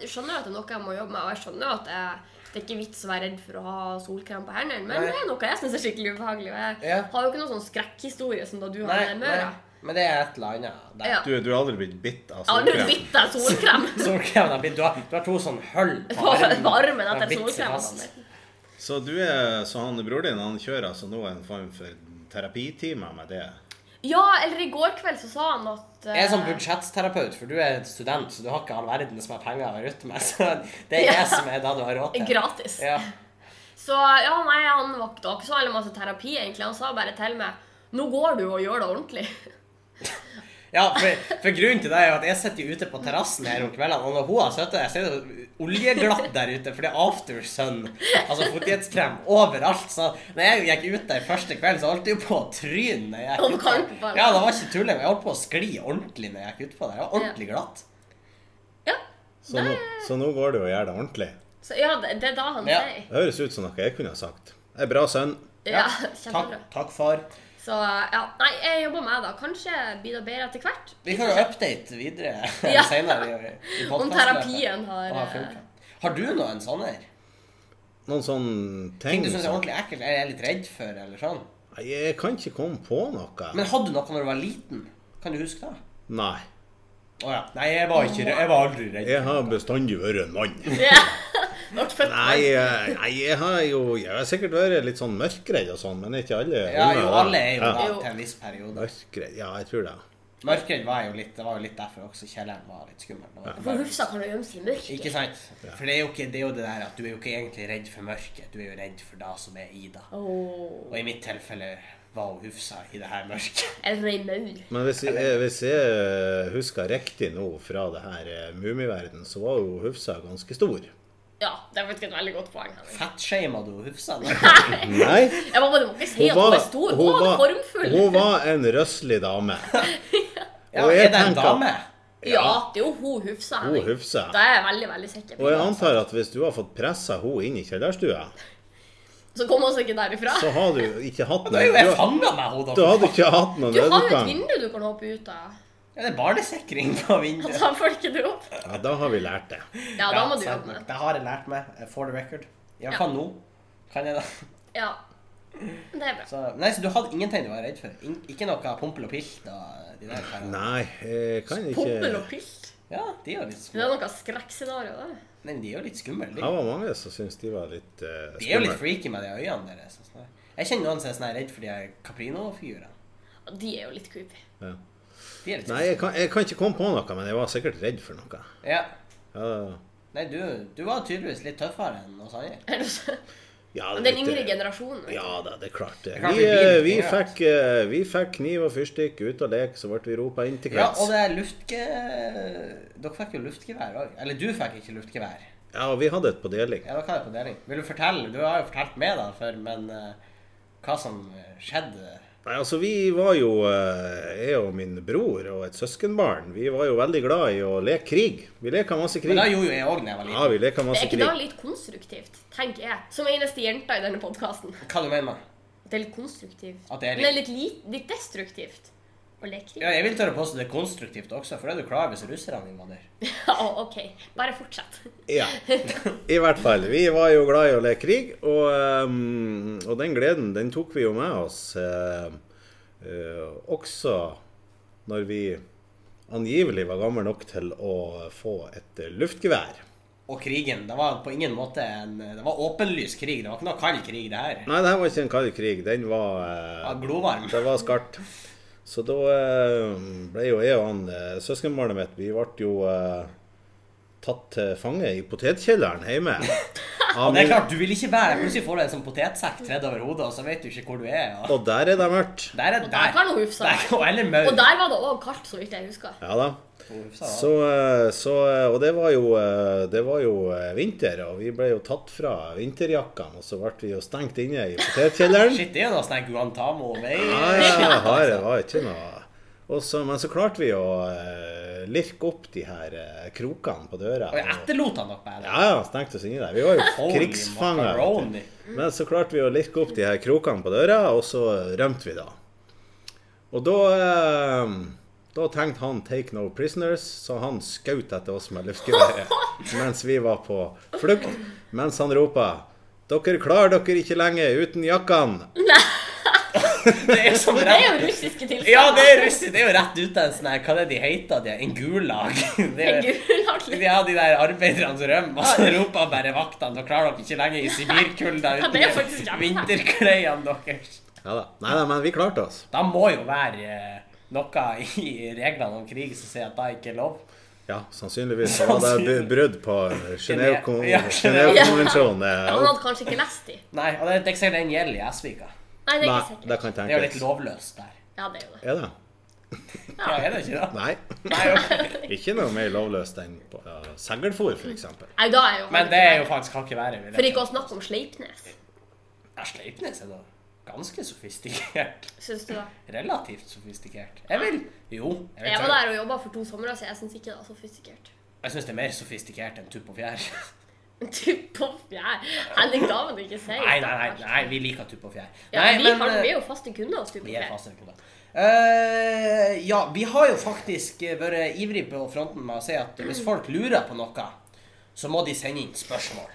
Jeg skjønner at det er noe jeg må jobbe med, og jeg skjønner at jeg, det er ikke vits å være redd for å ha solkrem på hendene, men
Nei.
det er noe jeg syns er skikkelig ubehagelig. og Jeg
Ja.
har jo ikke noen sånn skrekkhistorie som da du har
Nei,
med
nei.
Møre.
Men det er et eller annet der.
Ja.
Du, du har aldri blitt bitt av
Jeg har aldri
solkrem.
bitt deg solkrem
Solkremen har blitt du har, du har to sånne hull på
på
armen.
på armen
Den har
etter
bitt seg
solkrem.
fast.
Så du er, så han bror din han kjører altså nå en form for terapitimer med det?
Ja, eller i går kveld så sa han at eh,
Jeg er sånn budsjetterapeut, for du er student, så du har ikke all verden som har penger å rutte med. Så det er
Ja.
jeg som er det du har råd til.
eh, Gratis.
Ja.
Så ja, nei, han var ikke det var ikke så veldig masse terapi, egentlig. Han sa bare til meg Nå går du og gjør det ordentlig.
ja, for, for grunnen til det er jo at jeg sitter jo ute på terrassen her om kveldene, og når hun har sittet der, så er det jo oljeglatt der ute, for det er aftersun, altså fuktighetskrem, overalt. Så når jeg gikk ut der første kvelden, så holdt jeg jo på å tryne. når jeg gikk ut
Over
der.
kanten på alle.
Ja, det var ikke tulling. Jeg holdt på å skli ordentlig når jeg gikk utpå der. Jeg var ordentlig glatt.
Ja,
Så nå, så nå går du og gjør det ordentlig?
så, ja det, det er da han
Ja.
sier.
Det høres ut som noe jeg kunne ha sagt. Det er bra sønn.
Ja,
takk,
kjempebra.
takk for.
Så ja, nei, jeg jobber med det. Kanskje blir det bedre etter hvert.
Vi kan jo update videre
Ja.
senere i, i podcasten.
Om terapien har, eh,
Og har, funket. har du noen sånne her?
Noen sånne
Ting
ting
du syns er
som-
ordentlig ekkelt, eller er litt redd for, eller sånn?
Nei, Jeg kan ikke komme på noe.
Men hadde du noe når du var liten? Kan du huske det?
Nei.
Å ja. Nei, jeg var, ikke, re- jeg var aldri redd.
Jeg har bestandig vært en mann.
Ja. Ble født
Nei, eh, nei, jeg har jo jeg har sikkert vært litt sånn mørkredd og sånn, men ikke alle.
Ja,
unger
jo,
da.
alle er jo da
ja.
Jo.
til en viss periode.
Mørkredd, ja, jeg tror det.
Mørkredd var jo litt, det var jo litt derfor også kjelleren var litt skummel. Det var
For
bare-
Hufsa kan jo gjemme seg i mørket.
Ikke sant? For det er, jo ikke, det er jo det der at du er jo ikke egentlig redd for mørket, du er jo redd for det som er i deg.
Åh,
Og i mitt tilfelle var hun Hufsa i det her mørket.
En røy maur.
Men hvis jeg, hvis jeg husker riktig nå fra det her eh, mumiverdenen, så var jo Hufsa ganske stor.
Ja, det er faktisk et veldig godt poeng. Henrik.
Fettshama du Hufsa?
Nei,
Jeg må bare må ikke si at hun er stor. Hun, er formfull.
hun var en røslig dame.
Ja,
Og jeg
er det en
tenker-
dame?
ja, det er jo hun Hufsa.
Hun
Henrik.
Hufsa.
Da er jeg veldig, veldig sikker.
Og
på
jeg antar at hvis du har fått pressa hun inn i kjellerstua,
Så kom hun seg ikke derifra.
så har du ikke hatt
Da er jo
noen
jeg
du,
fanga med henne,
du
da!
hadde ikke hatt noen
Du har jo et
nødutgang.
vindu du kan hoppe ut av.
Ja, det er barnesikring på
Han
vinduet.
tar folk ikke opp.
Ja, da har vi lært det.
Ja, da må du
sant nok.
jobbe med det.
Det har jeg lært meg, eh, for the record. Iallfall nå. Kan jeg da?
Ja. Det er bra.
Så, nei, så du hadde ingenting du var redd for? In ikke noe pompel og pilt? Og de der karene?
Nei, jeg kan
Pompel og
ikke
pilt.
Ja, de er jo litt
Det
skumle.
er noe skrekkscenario, da.
Nei, men de er jo litt skumle.
Det
De,
var mange som syntes de var litt uh,
de er jo litt
skumle.
freaky med de øynene deres. og sånn der. Jeg kjenner noen som er sånn her redd for de her Caprino-figurene.
Og De er jo litt creepy.
Ja.
De er litt
Nei, jeg kan, jeg kan ikke komme på noe, men jeg var sikkert redd for noe.
Ja.
Ja,
Nei, du, du var tydeligvis litt tøffere enn oss andre.
Er det så-
ja,
Den yngre
litt, eh,
generasjonen. vet du.
Ja da, det er klart det.
Det er klart vi
Vi,
blir
eh, vi,
litt
fikk, eh, vi fikk kniv og fyrstikk ut og lek, så ble vi ropa inn til
Ja,
krets.
og det er luftge... Dere fikk jo luftgevær òg. Eller du fikk ikke luftgevær.
Ja, og vi hadde et på deling.
Ja, dere hadde på deling. Vil du fortelle? Du har jo fortalt meg da før, men eh, hva som eh, skjedde?
Nei, altså vi var jo, eh, jeg og min bror og et søskenbarn, vi var jo veldig glad i å leke krig. Vi leka masse krig.
Men da gjorde jo jeg òg da jeg var
Ja,
liten.
vi
Er
leka
altså
masse
ikke det
krig.
litt konstruktivt, tenker jeg, som eneste jenta i denne podkasten?
Hva du mener du?
Det er litt konstruktivt.
At det er litt-
Men det er litt, li- litt destruktivt å leke krig.
Ja, jeg vil tørre å påstå det er konstruktivt også, for det er du klar hvis russerne invaderer.
Ja, ok. Bare fortsett.
Ja, I hvert fall. Vi var jo glad i å leke krig, og, eh, og den gleden den tok vi jo med oss eh, eh, også når vi angivelig var gamle nok til å få et eh, luftgevær.
Og krigen, det var på ingen måte en Det var åpenlys krig, det var ikke noe kald krig, det her.
Nei, det her var ikke en kald krig. Den var
Det
eh,
var glovarm.
Det var skarpt. Så da eh, ble jo jeg og han eh, søskenbarnet mitt Vi ble jo eh, tatt til fange i potetkjelleren hjemme. Av
Og det er
min,
klart, du vil ikke være Plutselig får du en sånn potetsekk tredd over hodet, og så vet du ikke hvor du er. Og
og der er det mørkt.
der er
Og der kan hun hufsa.
Der, og eller maur.
Og der var det òg kaldt, så vidt jeg husker.
Ja da.
Hun hufsa, ja.
Så, eh, så eh, Og det var jo, eh, det var jo eh, vinter, og vi ble jo tatt fra vinterjakkene, og så ble vi jo stengt inne i potetkjelleren.
Shit, det er jo noe sånn her Guantamo Bay.
Ja, ja, her var ikke noe og så, Men så klarte vi å eh, lirke opp de her eh, krokene på døra.
Og jeg
og-
etterlot han dere bare.
Ja, ja, stengte oss inni der. Vi var jo
Holy
krigsfanger. vet
macaroni.
du. Men så klarte vi å lirke opp de her krokene på døra, og så rømte vi da. Og da eh, Da tenkte han 'take no prisoners', så han skjøt etter oss med luftgeværet mens vi var på flukt, mens han ropa 'Dere klarer dere ikke lenge uten jakkene'.
Det er som
Det er jo
rett
russiske tilstander.
Ja, det er russisk. Det er jo rett ut av en sånn her Hva er det de heter? De er en gulag. Det er jo-
Gulaktig.
Ja, de der arbeiderne som rømmer, og så roper bare vaktene Dere klarer dere ikke lenger i Sibirkulda
Ja,
uten
det er faktisk
de
jævlig.
vinterklærne deres.
Ja da. Nei da, men vi klarte oss.
Da må jo være eh, noe i reglene om krig som sier at det ikke er lov.
Ja, sannsynligvis så var det br- brudd på Genève-kon-
Ja, Genève.
Genève-konvensjonen. eh,
Han hadde kanskje ikke lest de.
Nei, og det er ikke sikkert den gjelder i Esvika.
Nei, det er
Nei,
ikke
det
sikkert.
kan
Det er jo litt
tenkes.
lovløst der.
Ja, det er jo det.
Er det?
Ja, er det ikke det?
Nei.
Nei, ok.
Ikke noe mer lovløst enn på uh, seglfòr, f.eks.
Nei, da er jo han
Men det er jo faktisk hakket verre. vil jeg
For ikke
tro.
å snakke om Sleipnes,
Ja, Sleipnes er da ganske sofistikert.
syns du da?
Relativt sofistikert. Jeg vil Jo. Jeg, vil
Jeg
tro-
var der og jobba for to somre, så jeg syns ikke det var sofistikert.
jeg syns det er mer sofistikert enn tupp og fjær.
Tupp og fjær. Henning, da må du ikke si.
Nei, nei, nei, nei, vi liker tupp og fjær.
Ja,
Nei,
vi,
men,
kan,
eh,
vi er jo faste kunder hos Tupp og
Vi er
fjær.
faste kunder. Eh, ja, vi har jo faktisk eh, vært ivrig på fronten med å si at hvis folk lurer på noe, så må de sende inn spørsmål.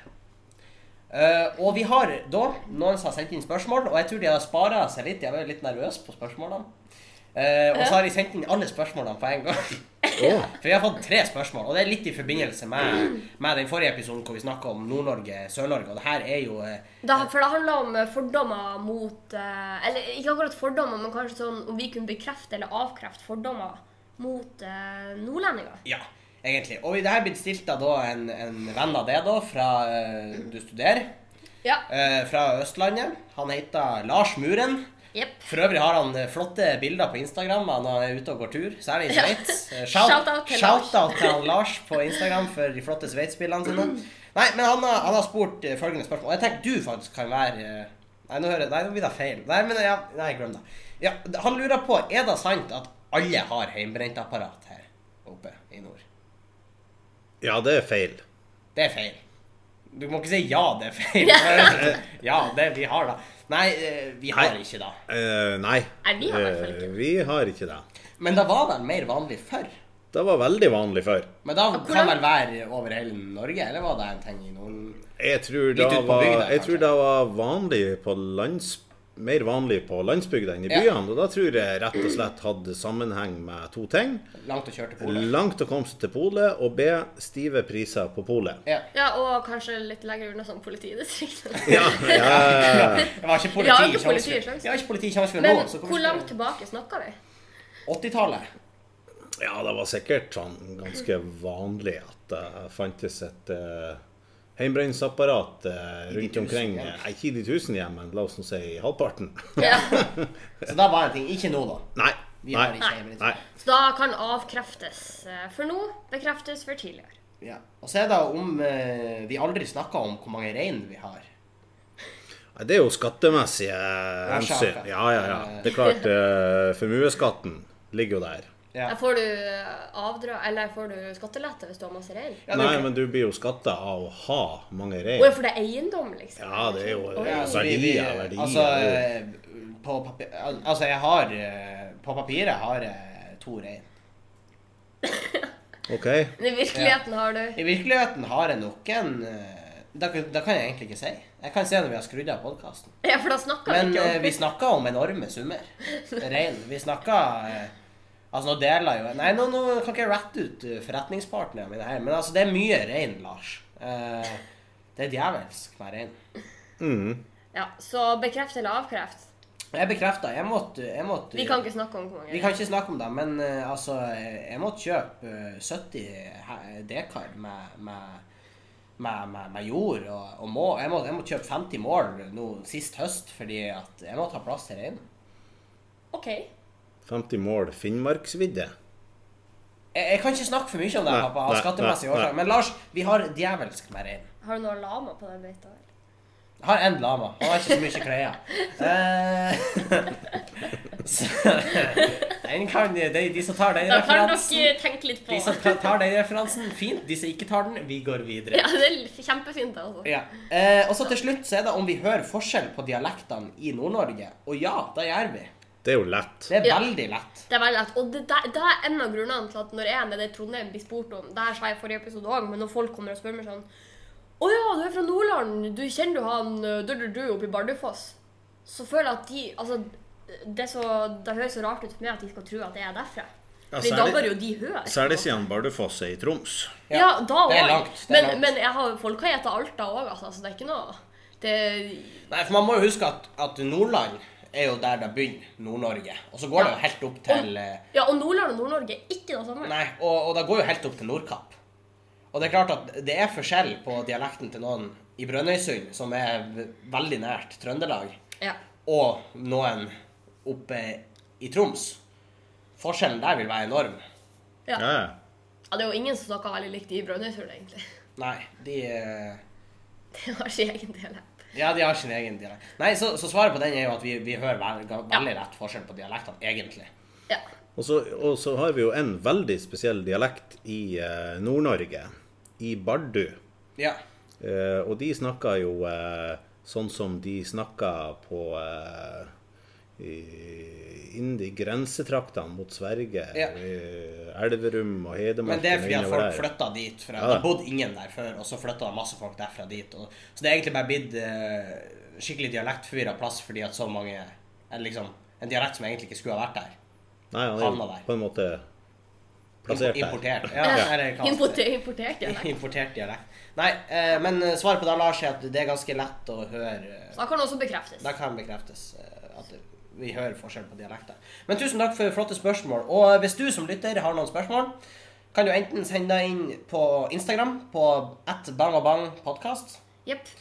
Eh, og vi har da noen som har sendt inn spørsmål, og jeg tror de har spara seg litt. De har vært litt nervøse på spørsmålene. Eh, og så har de sendt inn alle spørsmålene på en gang. For vi har fått tre spørsmål, og det er litt i forbindelse med, med den forrige episoden hvor vi snakka om Nord-Norge, Sør-Norge, og det her er jo eh,
Da, for det handler om eh, fordommer mot eh, Eller ikke akkurat fordommer, men kanskje sånn om vi kunne bekrefte eller avkrefte fordommer mot eh, nordlendinger.
Ja, egentlig. Og det her blitt stilt av da en, en venn av det da, fra eh, du studerer,
Ja.
eh, fra Østlandet. Han heter Lars Muren.
Jepp.
For øvrig har han eh, flotte bilder på Instagram når han er ute og går tur, særlig i
Ja.
Sveits. Eh,
Shout-out til Lars.
shout-out til han Lars på Instagram for de flotte Sveits-bildene sine.
Mm.
Nei, men han, har- han har spurt eh, følgende spørsmål. Og jeg tenker du faktisk kan være eh, Nei, nå hører jeg, nei, nå blir det feil. Nei, men ja, nei, glem det. Ja, han lurer på er det sant at alle har hjemmebrentapparat her oppe i nord.
Ja, det er feil.
Det er feil. Du må ikke si ja, det er feil. ja, det vi har da. Nei, eh, vi har
Nei.
ikke da.
Eh, nei.
Nei, vi har i hvert fall ikke.
Eh, vi har ikke det.
Men det var vel mer vanlig før?
Det var veldig vanlig før.
Men da
hvordan-
kan vel være over hele Norge, eller var det en ting i Norden?
Jeg tror
Litt
det
ut på
var,
bygda,
jeg tror
kanskje.
det var vanlig på landsbygda mer vanlig på landsbygda enn i
Ja.
byene. Og da tror jeg rett og slett hadde sammenheng med to ting.
Langt å kjøre til polet.
Langt å komme seg til polet, og B. Stive priser på polet.
Ja.
Ja, og kanskje litt lenger unna som politidistrikt.
Ja, ja.
Det var ikke
Vi har
politi
ikke
i Tjongsfjord.
politi i Tjongsfjord.
Vi har ikke politi i Tjongsfjord nå.
Men
så
hvor langt tilbake snakker vi?
80-tallet.
Ja, det var sikkert sånn ganske vanlig at det fantes et uh, heimebrenningsapparat eh,
de
rundt
tusen
omkring.
hjem.
Nei, ikke i de tusen hjem, men la oss nå si i halvparten.
Ja.
Så da var en ting. Ikke nå, da.
Nei.
Vi
Nei.
har ikke Emil.
Nei.
Så da kan avkreftes eh, for nå, bekreftes for tidligere.
Ja. Og så er det om eh, Vi aldri snakka om hvor mange rein vi har.
Nei, Det er jo skattemessige eh, hensyn.
sjafen.
Ja, ja, ja. Det er klart, eh, formuesskatten ligger jo der.
Ja.
Får du eh, avdra, eller får du skattelette hvis du har masse rein?
Ja, det er
Nei,
klart.
men du blir jo skatta av å ha mange
Å ja,
rein.
for det er eiendom, liksom?
Ja, det er jo
Oi.
Ja, altså, vi, vi,
verdier, verdier.
altså, eh, på papir, al- altså, jeg har eh, På papiret har jeg to rein.
OK?
Men I virkeligheten har du
I virkeligheten har jeg nok en eh, da, kan- da kan jeg egentlig ikke si. Jeg kan si når vi har skrudd av podkasten.
Ja, for da snakker vi
Men
ikke
eh,
om
vi snakka om enorme summer rein. Vi snakka eh, Altså, nå deler jeg jo Nei, nå, nå kan ikke jeg rette ut eh, forretningspartnerne mine her, men altså, det er mye rein, Lars. Eh, det er djevelsk med rein.
mm.
Ja, Så bekreft eller avkreft?
Jeg bekrefta. Jeg måtte, jeg måtte
Vi kan ikke snakke om hvor mange
Vi kan ikke snakke om det, men eh, altså, eh, jeg måtte kjøpe eh, 70 he- dekar med, med, med, med, med jord og, og må, jeg, måtte, jeg måtte kjøpe 50 mål nå sist høst, fordi at jeg måtte ha plass til reinen.
OK.
50 mål Finnmarksvidde.
Jeg, jeg kan ikke snakke for mye om det
Nei,
pappa, av
nei,
skattemessige
nei, nei.
årsaker, men Lars, vi har djevelsk med rein.
Har du noe lama på den beita? her?
Jeg har én lama. Han har ikke så mye klær. Eh, så- den kan, de, de som tar den
Da kan
referansen
dere tenke litt på
De som ta- tar den referansen, fint. De som ikke tar den, vi går videre.
Ja, det er kjempefint, altså.
Ja. Eh, og så til slutt så er det om vi hører forskjell på dialektene i Nord-Norge. Og ja, det gjør vi.
Det er jo lett.
Det er
Ja.
veldig lett.
Det er veldig lett. Og det, der- det er en av grunnene til at når jeg er nede i Trondheim blir spurt om Det her sa jeg i forrige episode òg, men når folk kommer og spør meg sånn Å ja, du er fra Nordland. Du kjenner du han eh, du, du, du oppe i Bardufoss? Så føler jeg at de Altså, det, er så, det høres så rart ut for meg at de skal tro at jeg er derfra.
Ja,
Fordi da
særlig-
bør jo de høre.
Særlig siden Bardufoss er i Troms.
Ja, da
det er
òg.
langt, det er
Men,
langt.
men jeg har, folk har gjetta Alta òg, altså. Så det er ikke noe det,
Nei, for man må jo huske at, at Nordland er jo der det begynner, Nord-Norge. Og så går det jo helt opp til eh,
Ja, og Nordland og Nord-Norge er ikke det samme.
Nei, og, og det går jo helt opp til Nordkapp. Og det er klart at det er forskjell på dialekten til noen i Brønnøysund, som er v- veldig nært Trøndelag,
Ja.
og noen oppe i Troms. Forskjellen der vil være enorm.
Ja.
Ja,
ja,
ja.
Det er jo ingen som snakker veldig likt i Brønnøysund, egentlig.
Nei, de eh,
Det har sin egen dialekt.
Ja, de har sin egen dialekt. Nei, så, så svaret på den er jo at vi, vi hører vel- ga- veldig rett forskjell på dialektene, egentlig.
Ja.
Og så, og så har vi jo en veldig spesiell dialekt i eh, Nord-Norge, i Bardu.
Ja.
Eh, og de snakker jo eh, sånn som de snakker på eh, i- inn i grensetraktene mot Sverige,
Ja.
eh, Elverum og Hedmark.
Men det er fordi
og
at
innover
folk
der.
flytta dit. fra
Ja.
Det bodde ingen der før, og så flytta masse folk derfra dit. Og, så det er egentlig bare blitt eh, skikkelig dialektforvirra plass fordi at så mange eller liksom, En dialekt som egentlig ikke skulle ha vært der.
Nei, han er
havna
jo
der.
på en måte
Impo-
plassert der.
Importert. Ja,
Ja.
eller hva-
Eh, Importer, importert dialekt.
Importert dialekt. Nei, eh, men eh, svaret på det, Lars, er at det er ganske lett å høre eh,
Da kan det også bekreftes.
Da kan bekreftes eh, at vi hører forskjell på dialekter. Men tusen takk for flotte spørsmål. Og eh, hvis du som lytter har noen spørsmål, kan du enten sende deg inn på Instagram på atbangogbangpodkast.
Jepp.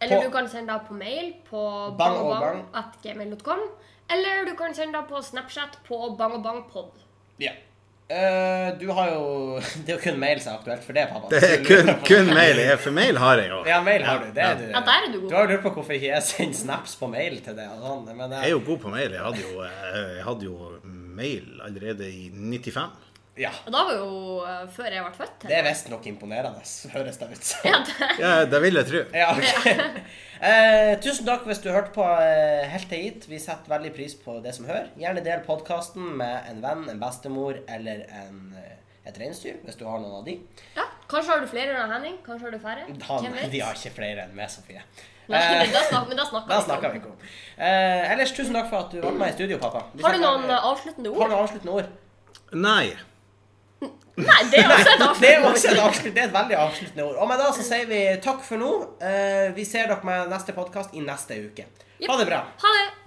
Eller
På-
du kan sende deg på mail på
Bangogbang.
bangogbang.gmail.com. Eller du kan sende deg på Snapchat på bangogbangpod.
Ja. Eh, du har jo Det er jo kun mail som er aktuelt for det, pappa.
Det er kun, kun mail. jeg- For mail har jeg jo.
Ja, mail har du. Det er du.
Ja, der er du god.
Du har jo lurt på hvorfor ikke jeg sender snaps på mail til deg. og sånn, Men
Jeg er
eh,
jo god på mail. Jeg hadde jo, eh, jeg hadde jo mail allerede i 95.
ja.
Og da var jo eh, før jeg ble født.
Det er visstnok imponerende, høres det ut som.
Ja, det-
Ja, det vil jeg tro.
Ja, ok. Eh, tusen takk hvis du hørte på eh, helt til hit. Vi setter veldig pris på det som hører. Gjerne del podkasten med en venn, en bestemor eller en, eh, et reinsdyr, hvis du har noen av de.
ja. Kanskje har du flere enn Henning? Kanskje har du færre?
Han,
Hvem vet?
de har ikke flere enn meg, Sofie. Eh,
Nei, men da snak- men da snakker
Da
vi
snakker
ikke om.
vi ikke om. Eh, ellers, tusen takk for at du var med meg i studio, pappa. Vi
Har du
snakker-
noen eh, avsluttende
Har
ord?
du noen avsluttende ord?
Nei.
Nei, det er også et
Det er
avsluttende ord.
også et, avslutt, det er et veldig avsluttende ord. Og med det så sier vi takk for nå. Eh, vi ser dere med neste podkast i neste uke.
Jep.
Ha det bra.
Ha det!